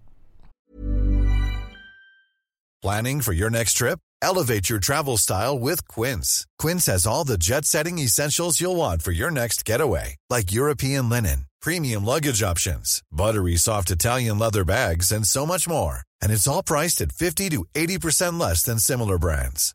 S5: Planning for your next trip? Elevate your travel style with Quince. Quince has all the jet setting essentials you'll want for your next getaway, like European linen, premium luggage options, buttery soft Italian leather bags, and so much more. And it's all priced at 50 to 80% less than similar brands.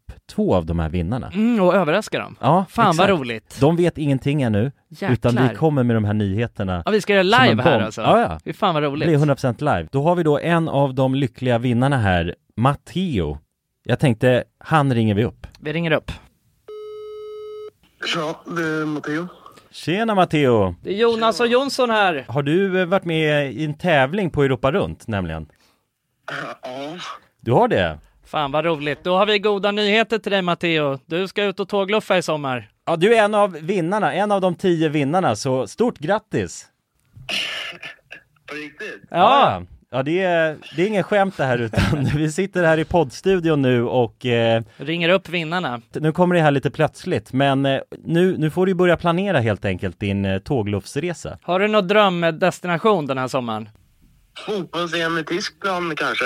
S1: två av de här vinnarna.
S2: Mm, och överraska dem.
S1: Ja,
S2: Fan vad
S1: exakt.
S2: roligt.
S1: De vet ingenting ännu,
S2: Jäklar.
S1: utan vi kommer med de här nyheterna.
S2: Ja, vi ska göra
S1: som en
S2: live här
S1: bomb.
S2: alltså.
S1: Ja, ja.
S2: Fy Fan vad
S1: Det blir
S2: roligt.
S1: 100% live. Då har vi då en av de lyckliga vinnarna här, Matteo. Jag tänkte, han ringer vi upp.
S2: Vi ringer upp.
S6: Ja, det är Matteo.
S1: Tjena Matteo!
S2: Det är Jonas och Jonsson här.
S1: Har du eh, varit med i en tävling på Europa runt nämligen?
S6: Ja.
S1: Du har det?
S2: Fan vad roligt. Då har vi goda nyheter till dig Matteo. Du ska ut och tågluffa i sommar.
S1: Ja, du är en av vinnarna, en av de tio vinnarna, så stort grattis!
S6: På riktigt?
S1: Ja! Ja, det är, det är ingen skämt det här utan vi sitter här i poddstudion nu och eh,
S2: Ringer upp vinnarna.
S1: nu kommer det här lite plötsligt men eh, nu, nu får du börja planera helt enkelt din eh, tågluffsresa.
S2: Har du någon drömdestination den här sommaren?
S6: Fotbolls-EM i Tyskland kanske?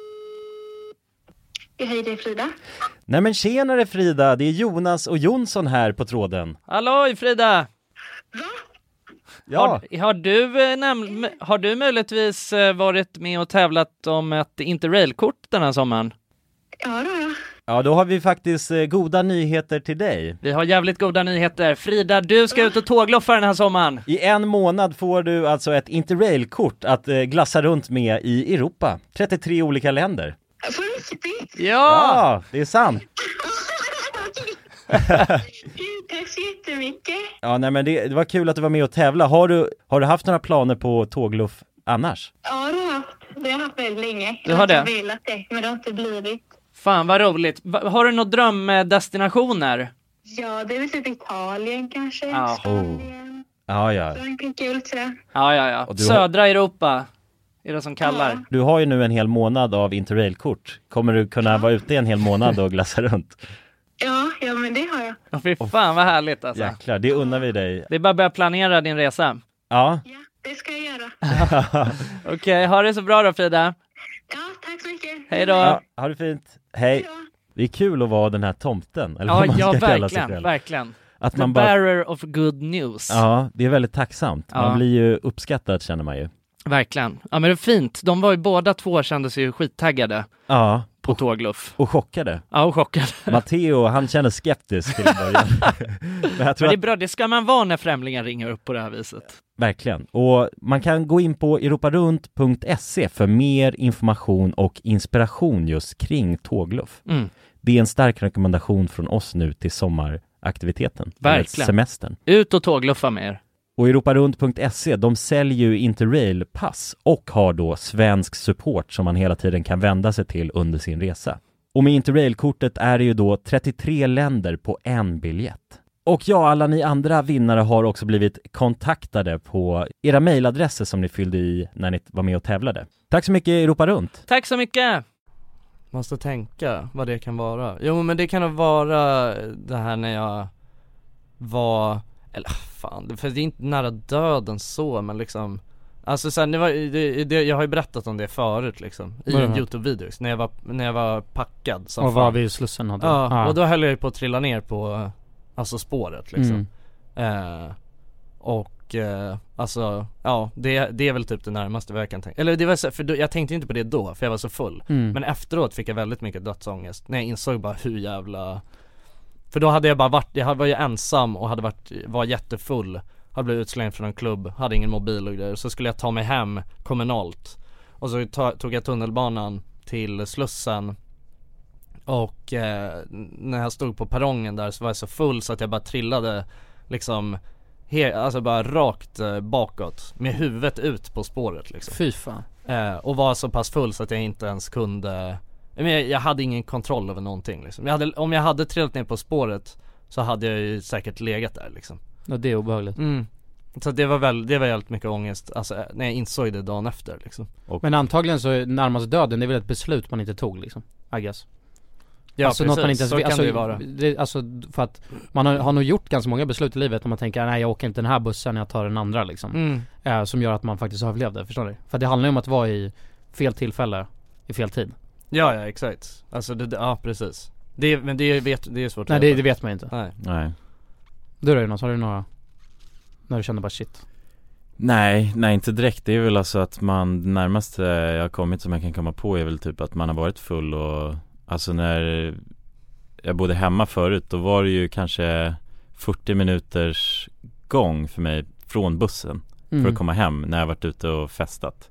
S6: Hej, det är Frida.
S1: Nej men tjenare Frida, det är Jonas och Jonsson här på tråden.
S2: Halloj Frida!
S1: Ja,
S2: Har, har, du, eh, näm- m- har du möjligtvis eh, varit med och tävlat om ett interrailkort den här sommaren?
S6: Ja, då.
S1: ja då har vi faktiskt eh, goda nyheter till dig.
S2: Vi har jävligt goda nyheter. Frida, du ska ut och tågloffa den här sommaren.
S1: I en månad får du alltså ett interrailkort att eh, glassa runt med i Europa. 33 olika länder.
S6: På riktigt?
S2: Ja!
S1: Ja, det är sant.
S6: tack så jättemycket.
S1: Ja, nej men det, det var kul att du var med och tävla. Har du, har du haft några planer på tågluff annars?
S6: Ja, det har jag haft. Det har jag haft väldigt länge.
S2: Du har det?
S6: Jag har velat det, men det har inte blivit.
S2: Fan vad roligt. Va- Har du några drömdestinationer?
S6: Ja, det är väl typ Italien kanske.
S2: Ja.
S6: Spanien.
S1: Ja, ja.
S6: Frankrike är väl tror jag.
S2: Ja, ja, ja.
S1: Och du har-
S2: Södra Europa är det som kallar.
S6: Ja.
S1: Du har ju nu en hel månad av interrailkort. Kommer du kunna vara ute en hel månad och glassa runt?
S6: Ja, ja, men det har jag.
S2: Åh, Fy fan vad härligt alltså.
S1: Jäklar, det unnar vi dig.
S2: Det är bara att börja planera din resa.
S1: Ja,
S6: Ja, det ska jag göra.
S2: Okej, ha det så bra då Frida.
S6: Ja, tack så mycket.
S2: Hej då.
S1: ja ha det fint. Hej. Det är kul att vara den här tomten, eller
S2: Ja,
S1: vad man
S2: ja
S1: ska kalla sig
S2: verkligen,
S1: själv.
S2: verkligen.
S1: Att
S2: The
S1: man bara,
S2: bearer of good news.
S1: ja, det är väldigt tacksamt.
S2: Ja.
S1: Man blir ju uppskattad känner man ju.
S2: Verkligen. Ja men det är fint. De var ju båda två kände sig ju skittaggade
S1: Ja,
S2: på tågluff.
S1: och chockade.
S2: Ja och chockade.
S1: Matteo, han känner skeptisk till en början. Men jag
S2: Men
S1: tror
S2: det är
S1: att,
S2: bra, det ska man vara när främlingar ringer upp på det här viset.
S1: verkligen. Och man kan gå in på europarunt.se E för mer information och inspiration just kring tågluff.
S2: Mm.
S1: Det är en stark rekommendation från oss nu till sommaraktiviteten. eller
S2: Verkligen.
S1: Semestern.
S2: Ut och tågluffa med er.
S1: Och europarunt.se, E, de säljer ju Interrail-pass och har då svensk support som man hela tiden kan vända sig till under sin resa. Och med Interrail-kortet är det ju då 33 länder på en biljett. Och ja, alla ni andra vinnare har också blivit kontaktade på era mejladresser som ni fyllde i när ni var med och tävlade. Tack så mycket Europa Runt!
S2: Tack så mycket! Måste tänka vad det kan vara. Jo men det kan nog vara det här när jag var, eller fan, för det är inte nära döden så men liksom Alltså sen, det var, det, det, jag har ju berättat om det förut liksom i
S3: Vadå?
S2: youtube-videos när jag var, när jag var Ah. packad som
S3: Och
S2: fan.
S3: var vid Slussen hade
S2: Ja,
S3: Ja.
S2: och då höll jag ju på att trilla ner på, alltså spåret liksom
S3: Mm.
S2: eh, Och, eh, alltså, ja det, det är väl typ det närmaste vad jag kan tänka Eller det var så, för då, jag tänkte inte på det då, för jag var så full
S3: Mm.
S2: Men efteråt fick jag väldigt mycket dödsångest, när jag insåg bara hur jävla För då hade jag bara varit, jag var ju ensam och hade varit, var jättefull Hade blivit utslängd från en klubb, hade ingen mobil och grejer, så skulle jag ta mig hem kommunalt Och så ta, tog jag tunnelbanan till Slussen och eh, n- när jag stod på perrongen där så var jag så full så att jag bara trillade liksom he- Alltså bara rakt eh, bakåt med huvudet ut på spåret liksom
S3: Fy fan.
S2: eh, Och var så pass full så att jag inte ens kunde men jag, jag hade ingen kontroll över någonting liksom. jag hade, Om jag hade trillat ner på spåret så hade jag ju säkert legat där liksom
S3: Ja, det är obehagligt.
S2: mm. Så det var väl, det var väldigt mycket ångest, alltså eh, när jag insåg det dagen efter liksom
S3: Men antagligen så är närmast döden, det är väl ett beslut man inte tog liksom, I guess.
S2: Ja
S3: alltså något man inte ens
S2: så
S3: vet-
S2: kan
S3: alltså,
S2: det ju vara
S3: det- alltså för att man har, har nog gjort ganska många beslut i livet när man tänker nej jag åker inte den här bussen, jag tar den andra liksom.
S2: mm.
S3: Eh, som gör att man faktiskt överlevde, förstår ni? För det handlar ju om att vara i fel tillfälle, i fel tid.
S2: Ja, ja exakt. Alltså det, ja precis. Det, men det vet, det är svårt
S3: Nej
S2: att
S3: det,
S2: veta.
S3: det vet man ju inte.
S2: Nej.
S4: Nej
S3: Du då Jonas, har du några? När du kände bara shit.
S4: Nej, nej inte direkt. Det är väl alltså att man, det närmaste jag har kommit som jag kan komma på är väl typ att man har varit full och Alltså när jag bodde hemma förut då var det ju kanske 40 minuters gång för mig från bussen för
S3: Mm.
S4: att komma hem när jag varit ute och festat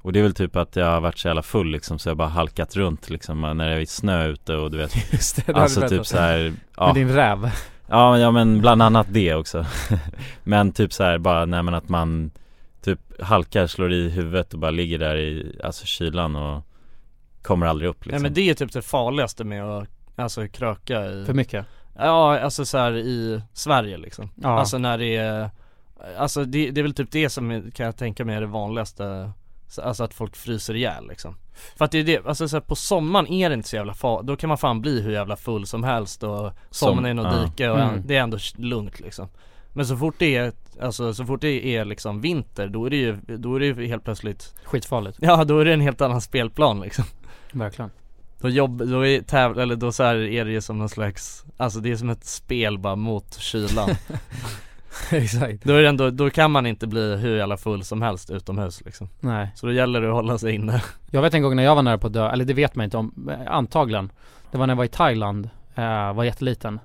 S4: Och det är väl typ att jag har varit så jävla full liksom så jag bara halkat runt liksom när det är snö ute och du vet
S3: Just det, det hade
S4: Alltså
S3: du
S4: typ
S3: berättat.
S4: så här,
S3: Med din räv.
S4: Ja, ja men bland annat det också Men typ så här bara, nej men att man typ halkar, slår i huvudet och bara ligger där i, alltså kylan och kommer aldrig upp
S2: Nej
S4: liksom
S2: men det är typ det farligaste med att alltså kröka i,
S3: För mycket.
S2: ja alltså så här i Sverige liksom.
S3: Ja.
S2: Alltså när det är, alltså det, det är väl typ det som är- kan jag tänka mig är det vanligaste Så- Alltså att folk fryser ihjäl liksom. För att det är det, alltså så här, på sommaren är det inte så jävla farligt, då kan man fan bli hur jävla full som helst och somna i något
S4: ja.
S2: dike och
S3: Mm.
S2: det är ändå lugnt liksom Men så fort det är, alltså så fort det är liksom vinter då är det ju, då är det ju helt plötsligt
S3: Skitfarligt.
S2: Ja då är det en helt annan spelplan liksom
S3: Verkligen.
S2: Då jobb, då är täv, eller då så här är det ju som någon slags, alltså det är som ett spel bara mot kylan
S3: Exakt.
S2: Då är det ändå, då kan man inte bli hur jävla full som helst utomhus liksom
S3: Nej.
S2: Så då gäller det att hålla sig inne
S3: Jag vet en gång när jag var nära på att dö, eller det vet man inte om, eh, antagligen. Det var när jag var i Thailand, eh, var jätteliten.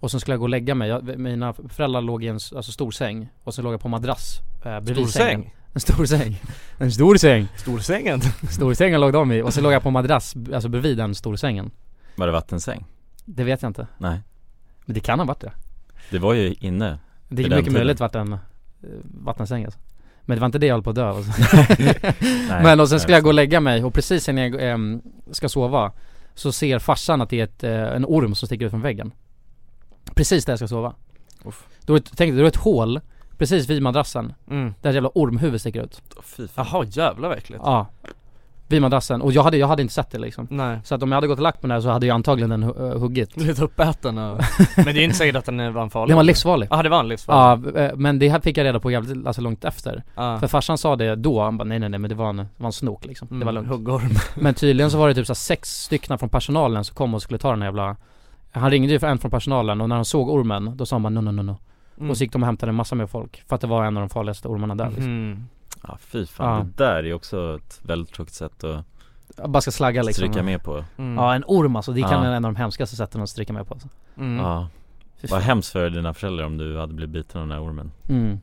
S3: Och sen skulle jag gå och lägga mig. Jag, mina föräldrar låg i en s- alltså, stor säng och sen låg jag på en madrass eh, bredvid sängen. En stor säng. En stor säng.
S2: Storsängen?
S3: Storsängen låg de i och sen låg jag på en madrass, b- alltså bredvid den storsängen.
S4: Var det vattensäng?
S3: Det vet jag inte.
S4: Nej
S3: Men det kan ha varit det.
S4: Det var ju inne
S3: Det
S4: Vid
S3: är
S4: den
S3: mycket
S4: tiden.
S3: möjligt varit en eh, vattensäng alltså. Men det var inte det jag höll på att dö alltså.
S4: nej,
S3: Men och sen
S4: nej,
S3: skulle jag gå och lägga mig och precis innan jag ehm, ska sova Så ser farsan att det är ett, eh, en orm som sticker ut från väggen Precis där jag ska sova Då är det, tänk dig, då är det ett hål Precis vid madrassen
S2: Mm
S3: Där ett jävla ormhuvud sticker ut
S4: Åh, Fy fan.
S2: Jaha jävlar verkligen
S3: Ja Vid madrassen, och jag hade, jag hade inte sett det liksom
S2: Nej
S3: Så att om jag hade gått och lagt mig där så hade jag antagligen den hu- eh, huggit
S2: Blivit uppäten och... Men det är inte säkert att den var en farlig
S3: Den var livsfarlig
S2: Ja det var en livsfarlig
S3: Ja, eh, men det här fick jag reda på jävligt, alltså långt efter
S2: Ja.
S3: För farsan sa det då, han bara nej nej nej men det var en, det var en snok liksom, det var
S2: Mm,
S3: lugnt
S2: Huggorm
S3: Men tydligen så var det typ så här sex stycken från personalen som kom och skulle ta den här jävla Han ringde ju för en från personalen och när de såg ormen, då sa man no no no no
S2: Mm.
S3: Och så gick de och hämtade en massa mer folk för att det var en av de farligaste ormarna
S4: Mhm.
S3: där liksom.
S2: Mm.
S4: Ja fy fan,
S3: Ja.
S4: det där är också ett väldigt tråkigt sätt att
S3: Jag bara ska slagga liksom
S4: stryka med på
S2: Mm.
S3: Ja en orm alltså, det kan
S4: Ja.
S3: vara en av de hemskaste sätten att stryka med på alltså.
S2: Mm.
S4: Ja,
S3: Fy
S4: vad
S3: fan.
S4: hemskt för dina föräldrar om du hade blivit biten av den här ormen
S3: mm.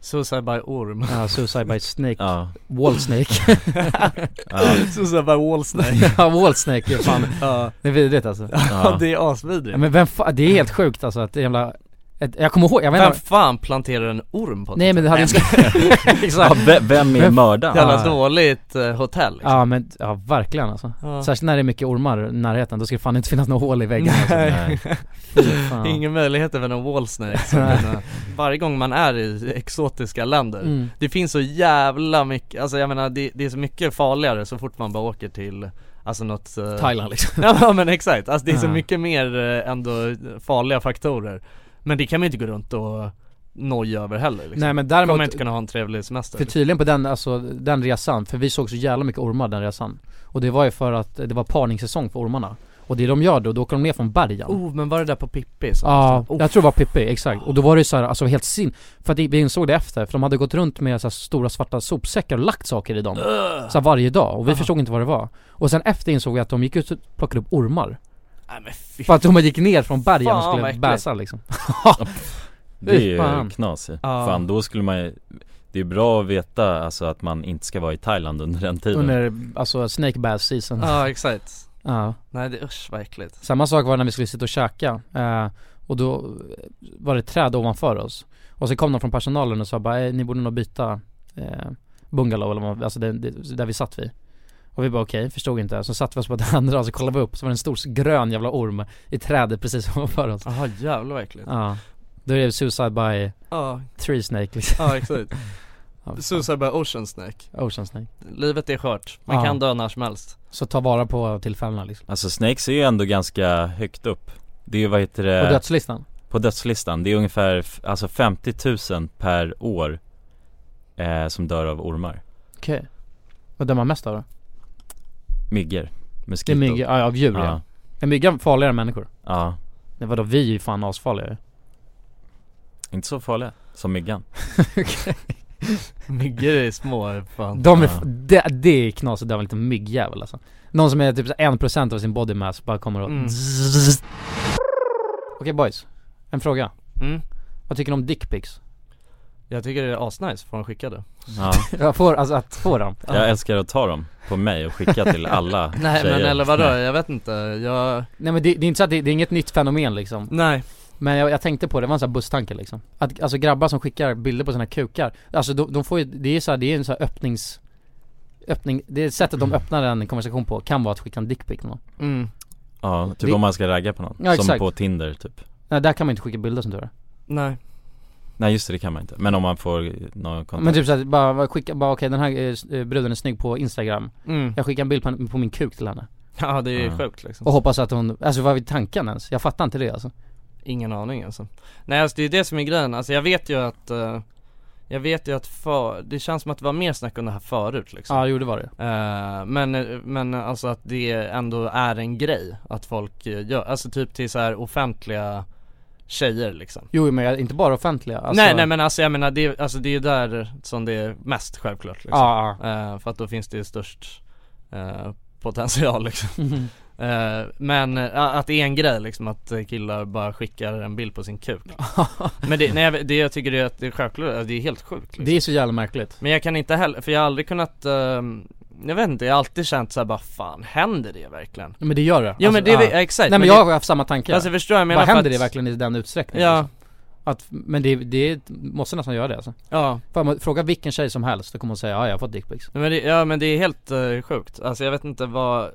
S2: Suicide by orm
S3: ja, Suicide by snake,
S4: Ja,
S3: wall snake
S4: ja,
S2: Suicide by wallsnake
S3: Ja wall snake, fan
S2: Ja,
S3: det är vidrigt alltså
S4: ja.
S2: det är
S3: ja,
S2: asvidrigt
S3: Men vem fa- det är helt sjukt alltså att det jävla Ett- Jag kommer ihåg, jag vet
S2: Vem
S3: inte
S2: fan planterar en orm på ett
S3: Nej men det hade inte...
S4: Ja,
S3: Exakt
S4: ve- vem är
S3: Vem-
S4: mördaren?
S2: Jävla
S3: Ah.
S2: dåligt eh, hotell liksom.
S3: Ja men, ja verkligen alltså.
S2: Ja.
S3: Särskilt när det är mycket ormar i närheten, då ska det fan inte finnas några hål i väggen alltså.
S4: Nej.
S3: Fy fan.
S2: Ingen möjlighet även om wall snakes Men, eh, Varje gång man är i exotiska länder
S3: Mm.
S2: Det finns så jävla mycket, alltså jag menar det, det är så mycket farligare så fort man bara åker till Alltså något eh,
S3: Thailand liksom
S2: Ja men exakt, alltså det är så
S3: Ja.
S2: mycket mer eh, ändå farliga faktorer Men det kan man ju inte gå runt och noja över heller liksom.
S3: Nej men
S2: Kommer man
S3: däremot,
S2: inte kunna ha en trevlig semester
S3: för tydligen på den, alltså, den resan, för vi såg så jävla mycket ormar den resan Och det var ju för att det var parningssäsong för ormarna Och det de gör då, då åker de ner från bergen
S2: Oh men var det där på Pippi? som-
S3: Ja,
S2: Oh,
S3: jag tror det var Pippi, exakt. Och då var det ju så här, alltså helt sin... För att vi insåg det efter, för de hade gått runt med så här stora svarta sopsäckar och lagt saker i dem. Så här varje dag, och vi förstod inte vad det var. Och sen efter insåg jag att de gick ut och plockade upp ormar.
S2: Nej men fy
S3: För att de gick ner från bergen
S2: Fan,
S3: och
S2: vad
S3: skulle
S2: äckligt.
S3: bäsa liksom.
S4: Det är ju
S3: Fan.
S4: knasigt.
S3: Ja.
S4: Fan då skulle man ju Det är bra att veta alltså att man inte ska vara i Thailand under den tiden
S3: Under, alltså snake bass season. Ja.
S2: Ja exakt Nej det usch vad äckligt
S3: Samma sak var när vi skulle sitta och käka. Eh, och då var det ett träd ovanför oss. Och så kom de från personalen och sa bara, "Eh, ni borde nog byta eh, bungalow eller vad, alltså det, det, där vi satt vid. Och vi bara okej, förstod inte. Så satt vi oss på det andra och så kollade vi upp, så var det en stor grön jävla orm i trädet precis ovanför oss.
S2: Jaha jävlar vad äckligt
S3: Ja. Då är det suicide by
S2: Ja,
S3: tree snake liksom.
S2: ja exakt
S3: Ja, fan.
S2: Suicide by ocean snake
S3: Ocean snake.
S2: Livet är skört, man
S3: Ja.
S2: kan dö när som helst
S3: Så ta vara på tillfällena liksom.
S4: Alltså snakes är ju ändå ganska högt upp Det är ju vad heter
S3: På
S2: Eh.
S4: det?
S3: dödslistan.
S4: På dödslistan, det är ungefär f- alltså 50 000 per år eh, Som dör av ormar
S3: Okej. Vad dömer man mest av då?
S4: Myggor,
S3: Det är
S4: moskiton
S3: mygga, ja, av djur ja.
S4: ja,
S3: Är myggan farligare än människor?
S4: ja,
S3: Nej vadå, vi är ju fan asfarliga ju.
S4: inte så farliga som myggan
S2: Myggor är små fan
S3: De är,
S4: Ja.
S3: det, det är knas att döva en liten myggjävel alltså. Någon som är typ så 1% av sin body mass bara kommer och
S2: Mm.
S3: Zzzz. Okej boys, en fråga.
S2: mm.
S3: Vad tycker ni om dickpics?
S2: Jag tycker det är asnice får de skicka det
S4: ja.
S3: Jag får, alltså att få dem?
S4: Jag älskar att ta dem på mig och skicka till alla
S2: Nej
S4: tjejer.
S2: men eller vadå, jag vet inte, jag,
S3: Nej men det, det är inte så att det, det är inget nytt fenomen liksom.
S2: nej
S3: Men jag, jag tänkte på det, det var en sån här busstanke liksom. Att, alltså grabbar som skickar bilder på sina kukar, alltså de, de får ju, det är ju så här, det är en sån här öppnings... Öppning, det är sättet de öppnar en konversation på kan vara att skicka en dickpic någon.
S2: mm.
S4: Ja, typ
S3: Det-
S4: om man ska ragga på någon,
S3: Ja,
S4: som
S3: exakt.
S4: på Tinder typ
S3: Nej där kan man inte skicka bilder som tur är.
S2: Nej,
S4: Nej just det, det kan man inte, men om man får någon kontakt
S3: Men typ såhär, bara skicka, bara okej den här eh, bruden är snygg på instagram
S2: mm.
S3: Jag skickar en bild på, på min kuk till henne
S2: ja det är
S4: Ja.
S2: sjukt liksom
S3: Och hoppas att hon, alltså vad är tanken ens? Jag fattar inte det alltså
S2: Ingen aning alltså Nej alltså det är det som är grejen, alltså jag vet ju att eh, Jag vet ju att för, det känns som att det var mer snack om det här förut liksom
S3: Ja jo det var det
S2: Eh, men, men alltså att det ändå är en grej att folk eh, gör, alltså typ till så här offentliga tjejer liksom
S3: Jo jo, men jag, inte bara offentliga alltså,
S2: Nej nej men alltså jag menar det, alltså det är ju där som det är mest självklart liksom.
S3: Ja, ja.
S2: Eh, För att då finns det ju störst eh, potential liksom
S3: Mm.
S2: Eh, Men eh, att det är en grej liksom att eh, killar bara skickar en bild på sin kuk Men det, nej, jag- det jag tycker det är att det är självklart, alltså, det är helt sjukt liksom.
S3: Det är så jävla märkligt
S2: Men jag kan inte heller, för jag har aldrig kunnat, ehm, jag vet inte, jag har alltid känt såhär bara fan händer det verkligen?
S3: Men det gör det
S2: Jo men det, är
S3: Alltså, ja.
S2: vi- exakt
S3: Nej men
S2: det-
S3: jag har haft samma tankar
S2: Alltså förstår jag, jag menar
S3: Vad
S2: för
S3: händer det
S2: att-
S3: verkligen i den utsträckningen?
S2: Ja,
S3: liksom? Att, men det, det måste nästan göra det alltså
S2: ja
S3: Fan, men Fråga vilken tjej som helst, då kommer hon säga ja jag har fått dickpics
S2: Nej, Men det, ja men det är helt eh, sjukt, alltså jag vet inte vad,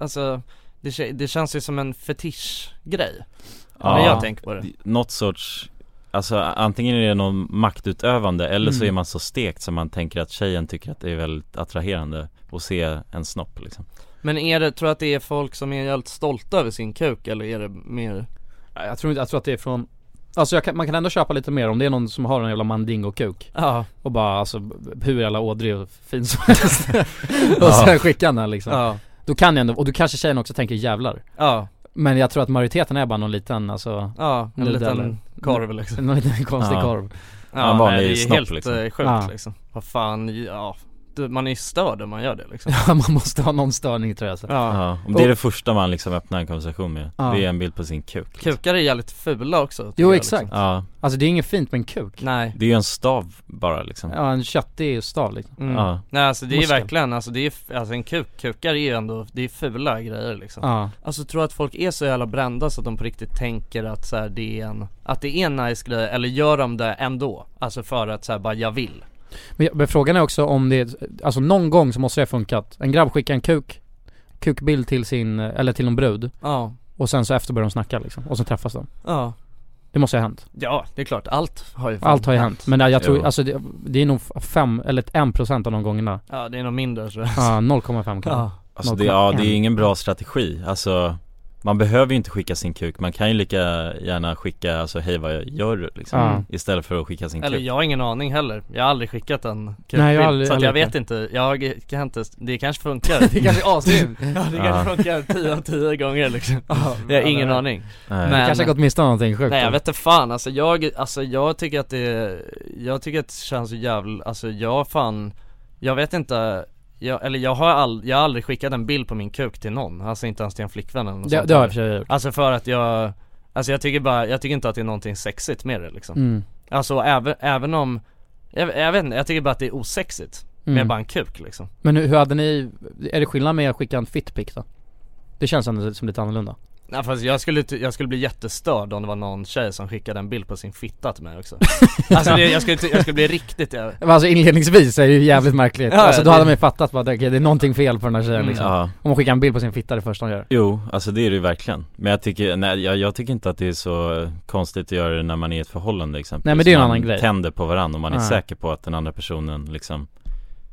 S2: alltså det, kä- det känns ju som en fetischgrej,
S4: Ja.
S2: när jag tänker på det
S4: D- Något sorts, alltså antingen är det någon maktutövande eller så
S3: Mm.
S4: är man så stekt så man tänker att tjejen tycker att det är väldigt attraherande att se en snopp liksom
S2: Men är det, tror du att det är folk som är helt stolta över sin kuk eller är det mer,
S3: Jag tror inte, jag tror att det är från Alltså jag kan, man kan ändå köpa lite mer om det är någon som har en jävla mandingo-kuk
S2: ja,
S3: Och bara alltså b- hur jävla ådrig och fin som helst Och sen skickar han den liksom
S2: ja,
S3: Då kan jag ändå, och då kanske tjejen också tänker jävlar
S2: ja,
S3: Men jag tror att majoriteten är bara någon liten alltså
S2: ja, en
S3: Det
S2: liten
S3: där.
S2: korv liksom
S3: Någon liten konstig
S4: Ja.
S3: korv
S2: Ja,
S4: en vanlig
S2: nej, det är
S4: snopp,
S2: helt
S4: liksom.
S2: eh, sjukt
S3: Ja.
S2: liksom, vad fan, ja att man är störd om man gör det liksom
S3: Ja, man måste ha någon störning tror jag alltså. så.
S2: Ja,
S1: Ja, om det är det första man liksom öppnar en konversation med
S3: Ja.
S1: Det är en bild på sin kuk liksom.
S2: kukar är jävligt fula också tycker
S3: Jo
S2: jag,
S3: exakt,
S1: Ja,
S3: alltså det är inget fint med en kuk
S2: Liksom. Nej
S1: det är ju en stav bara liksom Ja,
S3: Ja en köttig stav liksom
S2: mm.
S1: ja.
S2: Nej alltså det är ju
S3: Muskeln.
S2: verkligen, alltså det är, f- alltså en kuk, kukar är ju ändå, det är fula grejer liksom
S3: Ja,
S2: Alltså tror att folk är så jävla brända så att de på riktigt tänker att så här, det är en, att det är en nice grej, eller gör de det ändå? Alltså för att så här, bara jag vill
S3: men, men frågan är också om det, alltså någon gång så måste det ha funkat En grabb skickar en kuk, kukbild till sin, eller till någon brud
S2: Ja,
S3: Och sen så efter börjar de snacka liksom, och så träffas de
S2: ja
S3: Det måste ha hänt,
S2: Ja, det är klart, allt har ju
S3: allt har ju hänt Men jag tror,
S1: Jo.
S3: alltså det, det är nog fem, eller ett en procent av de gångerna
S2: Ja det är nog mindre så
S3: Ja, 0,5 kanske
S2: Ja,
S1: Alltså det, ja, det är ingen bra strategi, alltså man behöver ju inte skicka sin kuk, man kan ju lika gärna skicka alltså hej vad gör du liksom
S3: Ja.
S1: Istället för att skicka sin
S2: eller
S1: kuk
S2: jag har ingen aning heller, jag har aldrig skickat en kukbild
S3: Nej, jag har aldrig-
S2: Så att jag
S3: aldrig
S2: vet inte, jag kan inte, det kanske funkar Det kanske är asgrymt Ja det kanske funkar 10 av 10 gånger liksom Jag har ingen aning
S1: Nej.
S2: Men-
S3: Kanske har gått miste om någonting sjukt
S2: Nej jag vet inte fan alltså jag, alltså jag tycker att det, jag tycker att det känns så jävla, alltså jag fan, jag vet inte jag, eller jag har, all, jag har aldrig skickat en bild på min kuk till någon, alltså inte ens till en flickvän eller något
S3: Det,
S2: sånt
S3: det har jag i
S2: där.
S3: och för sig gjort
S2: Alltså för att jag, alltså jag tycker bara, jag tycker inte att det är någonting sexigt med det liksom
S3: mm.
S2: Alltså även, även om, jag, jag vet inte, jag tycker bara att det är osexigt med
S3: Mm.
S2: bara en kuk liksom
S3: Men hur hur hade ni, är det skillnad med att skicka en fitpic då? Det känns ändå som lite annorlunda
S2: Nej fast jag skulle, ty- jag skulle bli jättestörd om det var någon tjej som skickade en bild på sin fitta till mig också Alltså det, jag, skulle, ty- jag skulle bli riktigt jävla
S3: Men Alltså inledningsvis är det ju jävligt märkligt,
S2: Ja,
S3: alltså då
S2: det-
S3: hade man ju fattat bara, okej det är någonting fel på den här tjejen
S2: Mm.
S3: liksom
S1: Ja,
S3: Om hon skickar en bild på sin fitta det första hon gör
S1: jo, alltså det är det ju verkligen Men jag tycker, nej jag, jag tycker inte att det är så konstigt att göra det när man är i ett förhållande exempelvis
S3: Nej, men det är en
S1: Man
S3: annan grej.
S1: tänder på varandra och man är
S3: Ja.
S1: säker på att den andra personen liksom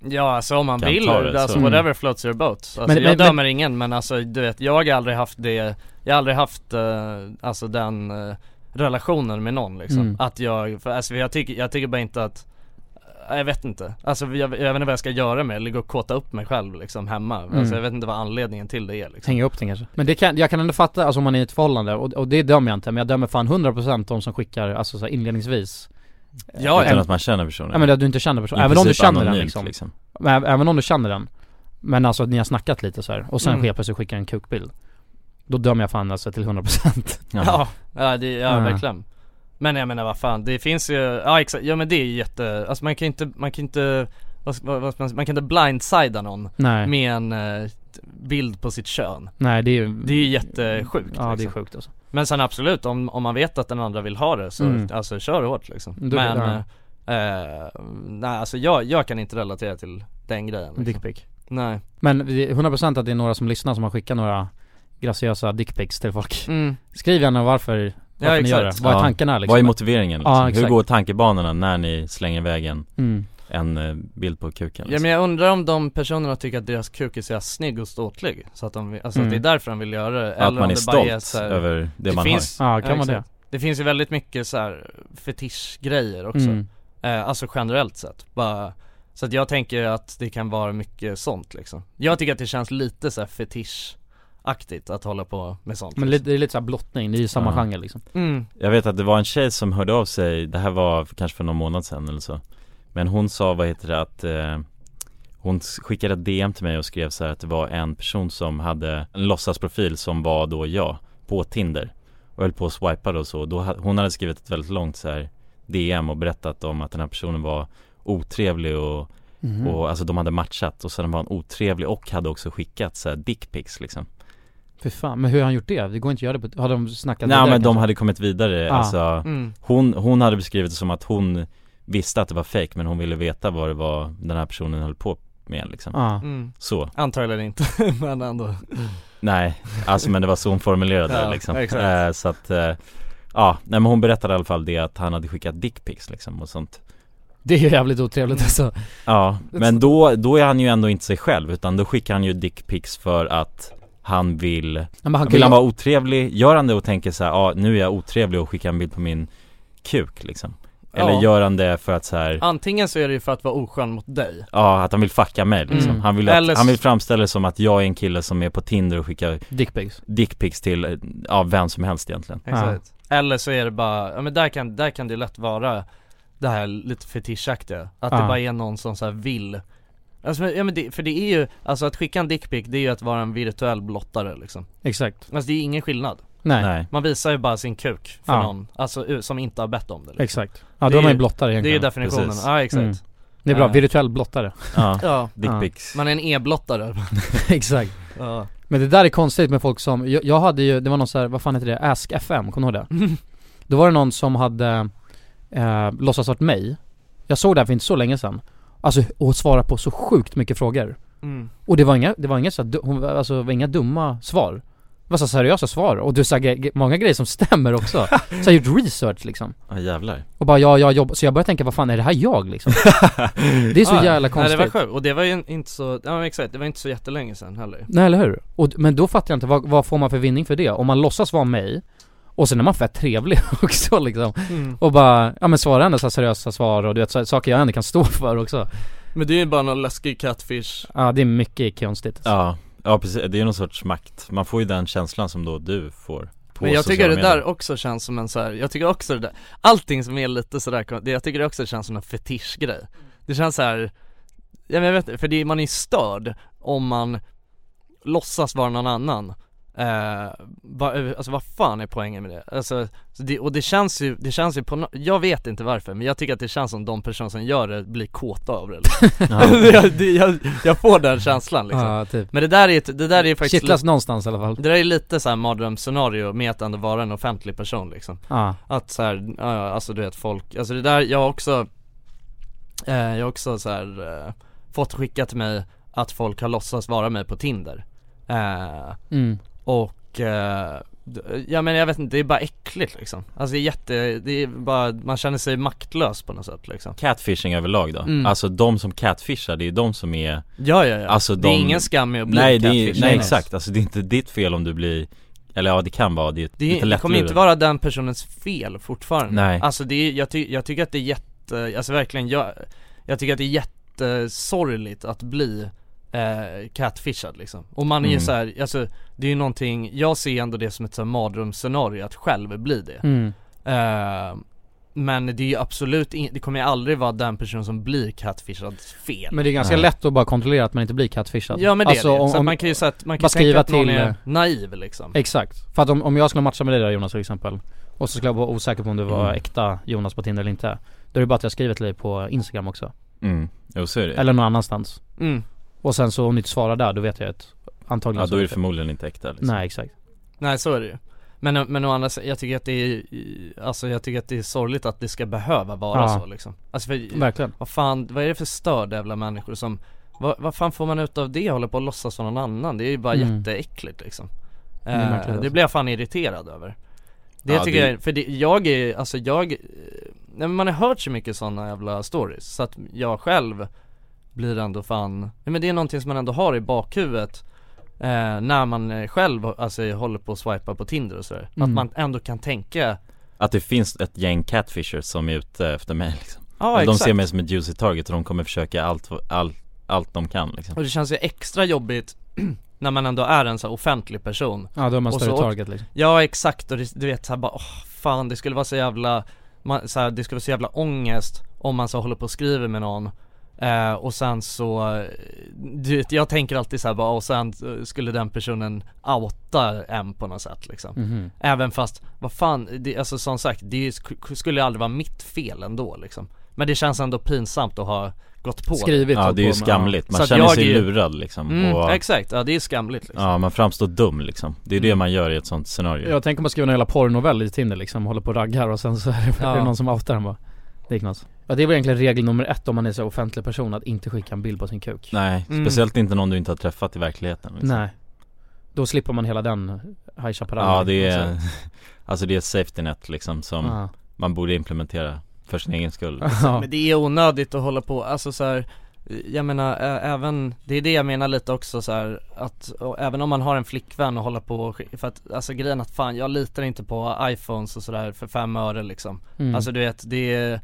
S2: Ja alltså om man
S1: Kan
S2: vill,
S1: ta det,
S2: alltså
S1: så. Mm.
S2: whatever floats your boat alltså,
S3: Men-
S2: men,
S3: men-
S2: Jag dömer ingen men alltså du vet, jag har aldrig haft det Jag har aldrig haft eh, alltså den eh, relationen med någon liksom
S3: Mm.
S2: Att jag, för, alltså jag tycker, jag tycker bara inte att eh, jag vet inte, alltså jag, jag vet inte vad jag ska göra med det, eller gå och kåta upp mig själv liksom hemma
S3: Mm.
S2: Alltså jag vet inte vad anledningen till det är liksom
S3: Hänga upp den kanske Men det kan, jag kan ändå fatta, alltså om man är i ett förhållande, och, och det dömer jag inte, men jag dömer fan 100% de som skickar, alltså så här, inledningsvis
S2: Ja,
S1: Utan
S2: ja.
S1: att man känner personen
S3: Nej men att du inte känner personen,
S1: I
S3: även om du
S1: princip
S3: känner den
S1: anonymt,
S3: liksom, Men ä- Även om du känner den Men alltså att ni har snackat lite så här och sen
S2: Mm.
S3: helt plötsligt skickar en kukbild Då dömer jag fan alltså till 100%
S1: Ja.
S2: Ja, ja, det, ja
S3: Mm.
S2: verkligen Men jag menar vad fan, det finns ju, ja exakt, ja men det är ju jätte, alltså man kan inte, man kan inte, vad, ska- vad, vad, ska man- man kan inte blindsida någon
S3: Nej,
S2: med en eh, bild på sitt kön
S3: nej det är ju
S2: Det är ju jättesjukt
S3: Mm. Ja det är
S2: liksom.
S3: sjukt alltså
S2: Men sen absolut, om, om man vet att den andra vill ha det så,
S3: Mm.
S2: alltså kör hårt liksom
S3: Då-
S2: Men,
S3: ja.
S2: eh, eh, nej alltså jag, jag kan inte relatera till den grejen liksom.
S3: Dickpic
S2: Nej
S3: Men det är 100% att det är några som lyssnar som har skickat några graciösa dickpics till folk
S2: mm.
S3: Skriv gärna varför,
S2: Ja,
S3: varför ni gör det,
S2: exakt.
S3: vad är
S1: Ja.
S3: tankarna liksom?
S1: Vad är motiveringen liksom?
S3: Ja,
S1: Hur
S3: exakt.
S1: går tankebanorna när ni slänger iväg en,
S3: mm.
S1: en eh, bild på kuken? liksom?
S2: Ja men jag undrar om de personerna tycker att deras kuk är så jävla snygg och ståtlig Så att de, vill- alltså
S3: Mm.
S2: att det är därför de vill göra det
S1: Att
S2: om
S1: man är
S2: det bara
S1: stolt
S2: så här-
S1: över det, man
S2: finns,
S3: Ja, kan man
S2: exakt. Det finns ju väldigt mycket så här fetischgrejer också
S3: Mm.
S2: Eh, alltså generellt sett. Bara, så att jag tänker att det kan vara mycket sånt liksom. Jag tycker att det känns lite så här fetischaktigt att hålla på med sånt.
S3: Men lite-
S2: liksom.
S3: det är lite såhär blottning, det är ju samma
S1: Ja.
S3: genre liksom
S2: mm.
S1: har Jag vet att det var en tjej som hörde av sig, det här var för- kanske för någon månad sedan eller så Men hon sa, vad heter det, att eh, hon s- skickade ett DM till mig och skrev så här att det var en person som hade en låtsasprofil som var då jag på Tinder och höll på att swipa då och så, då, ha- hon hade skrivit ett väldigt långt så här DM och berättat om att den här personen var otrevlig och, och alltså de hade matchat och sen var han otrevlig och hade också skickat så här dickpics liksom
S3: Fy fan, men hur har han gjort det? Det går inte att göra det på, har de snackat
S1: Nej
S3: vidare
S1: men de
S3: kanske?
S1: hade kommit vidare,
S3: Ah.
S1: alltså
S2: Mm.
S1: Hon, hon hade beskrivit det som att hon visste att det var fake men hon ville veta vad det var den här personen höll på med liksom
S3: Ja,
S2: Mm.
S1: Så,
S2: Antagligen inte, men ändå.
S1: nej, alltså men det var så hon formulerade
S2: Ja,
S1: det liksom
S2: exakt.
S1: eh, Så att, eh, ja, nej men hon berättade i alla fall det att han hade skickat dickpics liksom och sånt
S3: det är ju jävligt otrevligt
S1: Mm.
S3: alltså
S1: Ja, men då, då är han ju ändå inte sig själv utan då skickar han ju dickpics för att han vill,
S3: Nej, men han kan
S1: vill
S3: ju-
S1: han vara otrevlig? Gör han det och tänker så här, ja nu är jag otrevlig och skickar en bild på min kuk liksom? Eller
S2: Ja.
S1: gör han det för att så här,
S2: Antingen så är det ju för att vara oskön mot dig.
S1: Ja, att han vill fucka mig liksom.
S3: Mm.
S1: han, vill att,
S2: Eller s-
S1: han vill framställa det som att jag är en kille som är på Tinder och skickar
S3: Dickpics
S1: dickpics till, eh, ja, vem som helst egentligen
S2: Exakt. Eller så är det bara, ja men där kan, där kan det lätt vara det här lite fetischaktiga. Att
S3: Ja.
S2: det bara är någon som så här vill Alltså, men- ja, men det, för det är ju, alltså att skicka en dickpic det är ju att vara en virtuell blottare liksom
S3: Exakt.
S2: Alltså det är ingen skillnad
S3: Nej.
S4: Nej
S2: Man visar ju bara sin kuk för
S3: Ja.
S2: någon, alltså u- som inte har bett om det liksom.
S3: Exakt. Ja,
S2: Det
S3: då
S2: är
S3: är man
S2: ju-
S3: ju blottare
S2: Det är ju
S3: egentligen. Det är,
S2: definitionen,
S4: precis.
S2: ja exakt
S3: Mm.
S2: Ja.
S3: bra, virtuell blottare.
S4: Ja,
S2: Ja,
S4: dickpics
S2: man är en e-blottare
S3: Exakt.
S2: ja.
S3: Men det där är konstigt med folk som, jag, jag hade ju, det var någon så här, vad fan heter det, Ask FM, kommer du ihåg det? Då var det någon som hade eh, låtsats varit mig Jag såg det här för inte så länge sedan Alltså, och svara på så sjukt mycket frågor
S2: mm.
S3: Och det var inga, det var inga så här, du- hon, alltså, det var inga dumma svar Det var så seriösa svar, och du sa ge- ge- många grejer som stämmer också Så jag har gjort research liksom
S4: Ja jävlar
S3: Och bara ja, jag jobbar, så jag började tänka vad fan är det här jag liksom? Det är så
S2: Ja, ja.
S3: jävla konstigt
S2: Nej det var sjukt, och det var ju inte så, ja men exakt, det var inte så jättelänge sedan heller
S3: Nej eller hur? Och, men då fattar jag inte, vad, vad får man för vinning för det? Om man låtsas vara mig och sen är man fett trevlig också liksom
S2: Mm.
S3: Och bara, ja men svara ändå så här seriösa svar och du vet så, här saker jag ändå kan stå för också
S2: Men det är ju bara någon läskig catfish
S3: Ja det är mycket konstigt
S4: Ja, ja precis, det är ju någon sorts makt Man får ju den känslan som då du får på
S2: Men jag tycker
S4: sociala
S2: det där
S4: medier.
S2: också känns som en så här, jag tycker också det där, allting som är lite sådär, kon- det- jag tycker det också känns som en fetischgrej Det känns så här, ja men jag vet inte, för det, är- man är ju störd om man låtsas vara någon annan eh, va, Alltså vad fan är poängen med det? Alltså, så det, och det känns ju, det känns ju på nå- jag vet inte varför men jag tycker att det känns som de personer som gör det blir kåta av det, liksom. jag, det jag, jag får den känslan liksom
S3: Ja typ
S2: Men det där är ju, ett- det där är ju faktiskt
S3: Kittlas någonstans i alla fall
S2: det där är lite såhär mardrömsscenario med att ändå vara en offentlig person liksom
S3: Ja,
S2: Att såhär, ja, ja, alltså du vet folk, alltså det där, jag har också eh, Jag har också såhär eh, fått skickat till mig att folk har låtsats vara mig på Tinder eh,
S3: mm.
S2: Och, eh, d- ja men jag vet inte, det är bara äckligt liksom Alltså det är jätte, det är bara, man känner sig maktlös på något sätt liksom
S4: Catfishing överlag då,
S2: Mm.
S4: alltså de som catfishar, det är ju de som är
S2: Ja ja ja,
S4: Alltså,
S2: det är
S4: de-
S2: ingen skam med att bli
S4: Nej, det är,
S2: catfish.
S4: nej exakt, alltså det är inte ditt fel om du blir Eller ja det kan vara, det är
S2: Det,
S4: lite
S2: är, det
S4: lätt
S2: kommer inte vara den personens fel fortfarande
S4: Nej.
S2: Alltså det är, jag, ty, jag tycker att det är jätte, alltså verkligen jag, jag tycker att det är jättesorgligt att bli eh, catfishad liksom Och man är ju
S4: Mm.
S2: så här, alltså det är ju någonting, jag ser ändå det som ett så här mardrömsscenario att själv bli det
S3: Mm.
S2: eh, Men det är ju absolut in, det kommer ju aldrig vara den personen som blir catfishad fel
S3: Men det är ganska
S4: Ja.
S3: lätt att bara kontrollera att man inte blir catfishad
S2: Ja men det
S3: alltså,
S2: är det,
S3: om,
S2: så att
S3: om,
S2: man kan ju så att man kan
S3: bara
S2: tänka
S3: skriva
S2: att någon
S3: till-
S2: är naiv liksom
S3: Exakt, för att om, om jag skulle matcha med dig där Jonas till exempel Och så skulle jag vara osäker på om du var
S4: Mm.
S3: äkta Jonas på Tinder eller inte Då är det bara att jag skriver till dig på Instagram också,
S4: mm. Jo så är det
S3: eller någon annanstans
S2: mm.
S3: Och sen så om du inte svarar där, då vet jag att antagligen
S4: Ja
S3: så
S4: då är det förmodligen inte äkta liksom.
S3: Nej exakt
S2: Nej så är det ju Men, men å andra sidan, jag tycker att det är, alltså jag tycker att det är sorgligt att det ska behöva vara
S3: Ja.
S2: så liksom Alltså för,
S3: Verkligen
S2: vad fan, vad är det för störda jävla människor som vad, vad fan får man ut av det, hålla på och låtsas vara någon annan? Det är ju bara
S3: Mm.
S2: jätteäckligt liksom
S3: är
S2: eh,
S3: verkligen
S2: Det
S3: det.
S2: blir jag fan irriterad över
S4: alltså.
S2: Det
S4: Ja,
S2: tycker
S4: det-
S2: jag, för det, jag är, alltså jag eh, Nej men man har hört så mycket sådana jävla stories så att jag själv blir ändå fan Nej men det är någonting som man ändå har i bakhuvudet eh, När man eh, själv alltså håller på att swipa på Tinder och sådär Att
S3: Mm.
S2: man ändå kan tänka
S4: Att det finns ett gäng catfishers som är ute efter mig liksom.
S2: Ja
S4: De ser mig som ett juicy target och de kommer försöka allt, allt, allt de kan liksom.
S2: Och det känns ju extra jobbigt när man ändå är en så här offentlig person
S3: Ja då är man
S2: Och
S3: större
S2: så-
S3: target liksom
S2: Ja exakt och det, du vet såhär bara åh fan det skulle vara så jävla man, så här, Det skulle vara så jävla ångest om man så håller på och skriver med någon eh, Och sen så eh, Du vet jag tänker alltid såhär bara och sen eh, skulle den personen outa en på något sätt liksom
S3: Mhm.
S2: Även fast, vad fan, det, alltså som sagt det är ju sk- skulle ju aldrig vara mitt fel ändå liksom Men det känns ändå pinsamt att ha gått på det.
S3: Skrivit
S4: Ja
S3: och
S4: det är ju
S3: typ på med-
S4: skamligt,
S2: Så
S4: man
S2: att
S4: känner
S2: jag
S4: sig
S2: är ju-
S4: lurad liksom
S2: Mm,
S4: och,
S2: exakt, ja det är skamligt liksom.
S4: Ja man framstår dum liksom, det är det
S2: Mm.
S4: man gör i ett sånt scenario
S3: ja. Jag tänker om man skriver en hela porrnovell i Tinder liksom, håller på och raggar och sen så är det,
S2: Ja.
S3: är det någon som outar en bara Det är knas Ja det är väl egentligen regel nummer ett om man är så offentlig person, att inte skicka en bild på sin kuk
S4: Nej,
S2: Mm.
S4: speciellt inte någon du inte har träffat i verkligheten liksom.
S3: Nej Då slipper man hela den High Chaparral liksom.
S4: Ja det är, alltså det är ett safety net liksom som
S3: Ja,
S4: man borde implementera för sin egen skull
S3: ja.
S2: Alltså, Men det är onödigt att hålla på, alltså så här, jag menar ä- även, det är det jag menar lite också så här, att och även om man har en flickvän och håller på och sk- för att alltså grejen att fan jag litar inte på iPhones och sådär för fem öre liksom
S3: Mm.
S2: Alltså du vet det är,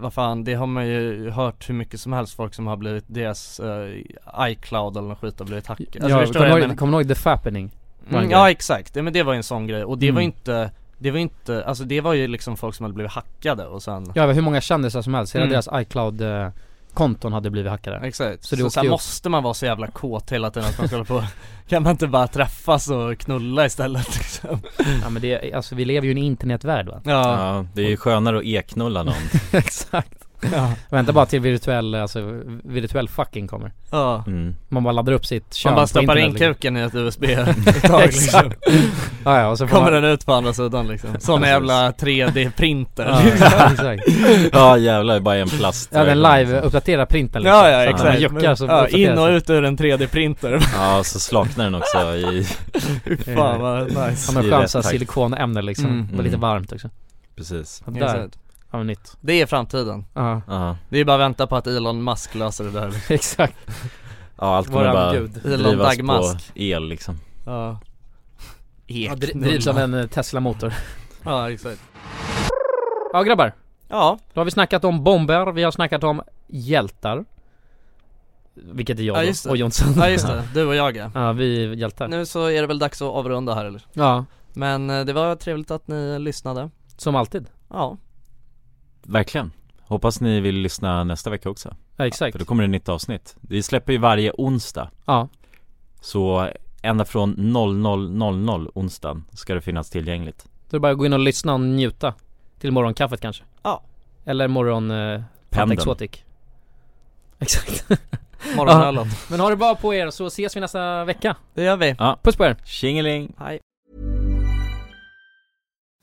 S2: vad fan det har man ju hört hur mycket som helst folk som har blivit deras eh, iCloud eller något skit har blivit hackat alltså,
S3: ja,
S2: förstår du vad
S3: kommer du
S2: jag menar?
S3: ihåg- kommer du ihåg The Fappening? var en
S2: Mm,
S3: grej.
S2: ja exakt, ja, men det var ju en sån grej och det var ju
S3: Mm.
S2: inte det var ju inte, alltså det var ju liksom folk som hade blivit hackade och sen
S3: Ja hur många kändisar som helst, hela
S2: Mm.
S3: deras iCloud eh, konton hade blivit hackade.
S2: Exakt,
S3: Så
S2: så,
S3: det
S2: så,
S3: åkte ju
S2: här
S3: upp.
S2: måste man vara så jävla kåt hela tiden att man kollar på Kan man inte bara träffas och knulla istället liksom?
S3: Ja men det, alltså vi lever ju i en internetvärld va?
S2: Ja,
S4: Ja, det är ju skönare att e-knulla någon
S3: Exakt.
S2: ja,
S3: Vänta bara till virtuell, alltså virtuell fucking kommer.
S2: ja.
S4: mm.
S3: Man bara laddar upp sitt kön
S2: Man bara
S3: på
S2: stoppar in
S3: internet, liksom.
S2: kuken i ett USB-tag liksom.
S3: Ja, ja, och så får
S2: Kommer
S3: man...
S2: den ut på andra sidan liksom. Som en jävla Liksom. 3D-printer
S3: Ja, ja, exakt.
S4: Ja jävlar, det är bara en plast
S3: Ja den live uppdaterar printen liksom.
S2: Ja ja
S3: Så att när
S2: exakt.
S3: man juckar så
S2: ja,
S3: uppdateras
S2: in och
S3: den.
S2: ut ur en 3D-printer.
S4: liksom. Ja, så slaknar den också i,
S2: Fan vad nice.
S3: Han har
S4: i
S3: skönt
S4: rätt
S3: såhär
S4: takt.
S3: silikonämne liksom,
S2: Mm.
S3: och lite
S4: Mm.
S3: varmt också.
S4: precis
S3: Ja, Där,
S2: Exakt.
S3: ja men nytt.
S2: Det är framtiden.
S3: Ja,
S4: Ja,
S2: Det är bara att vänta på att Elon Musk löser det där.
S3: exakt.
S4: ja allt kommer
S3: Våran
S4: bara
S3: gud.
S2: Elon
S4: drivas på
S2: Dagmask.
S4: el liksom
S2: Ja.
S3: Ja, dri- drivs av en eh, Tesla-motor.
S2: Ja exakt.
S3: Ja grabbar,
S2: Ja,
S3: då har vi snackat om bomber, vi har snackat om hjältar. Vilket är jag
S2: Ja,
S3: då,
S2: just det.
S3: och Jonsson.
S2: ja just det. Du och jag ja.
S3: Ja, vi är hjältar.
S2: Nu så är det väl dags att avrunda här eller?
S3: Ja,
S2: Men eh, det var trevligt att ni lyssnade.
S3: som alltid.
S2: Ja.
S4: Verkligen Hoppas ni vill lyssna nästa vecka också
S3: Ja, exakt.
S4: För då kommer det ett nytt avsnitt Vi släpper ju varje onsdag
S3: Ja,
S4: Så ända från 00.00 onsdagen ska det finnas tillgängligt
S3: då är det bara att gå in och lyssna och njuta. Till morgonkaffet kanske.
S2: Ja.
S3: Eller morgon... Eh, Fanta
S4: Pendeln.
S3: Exotic. Exakt.
S2: Morgonölen.
S3: Men ha det bra på er så ses vi nästa vecka.
S2: Det gör vi.
S3: Puss på er.
S4: Tjingeling!
S2: Hej.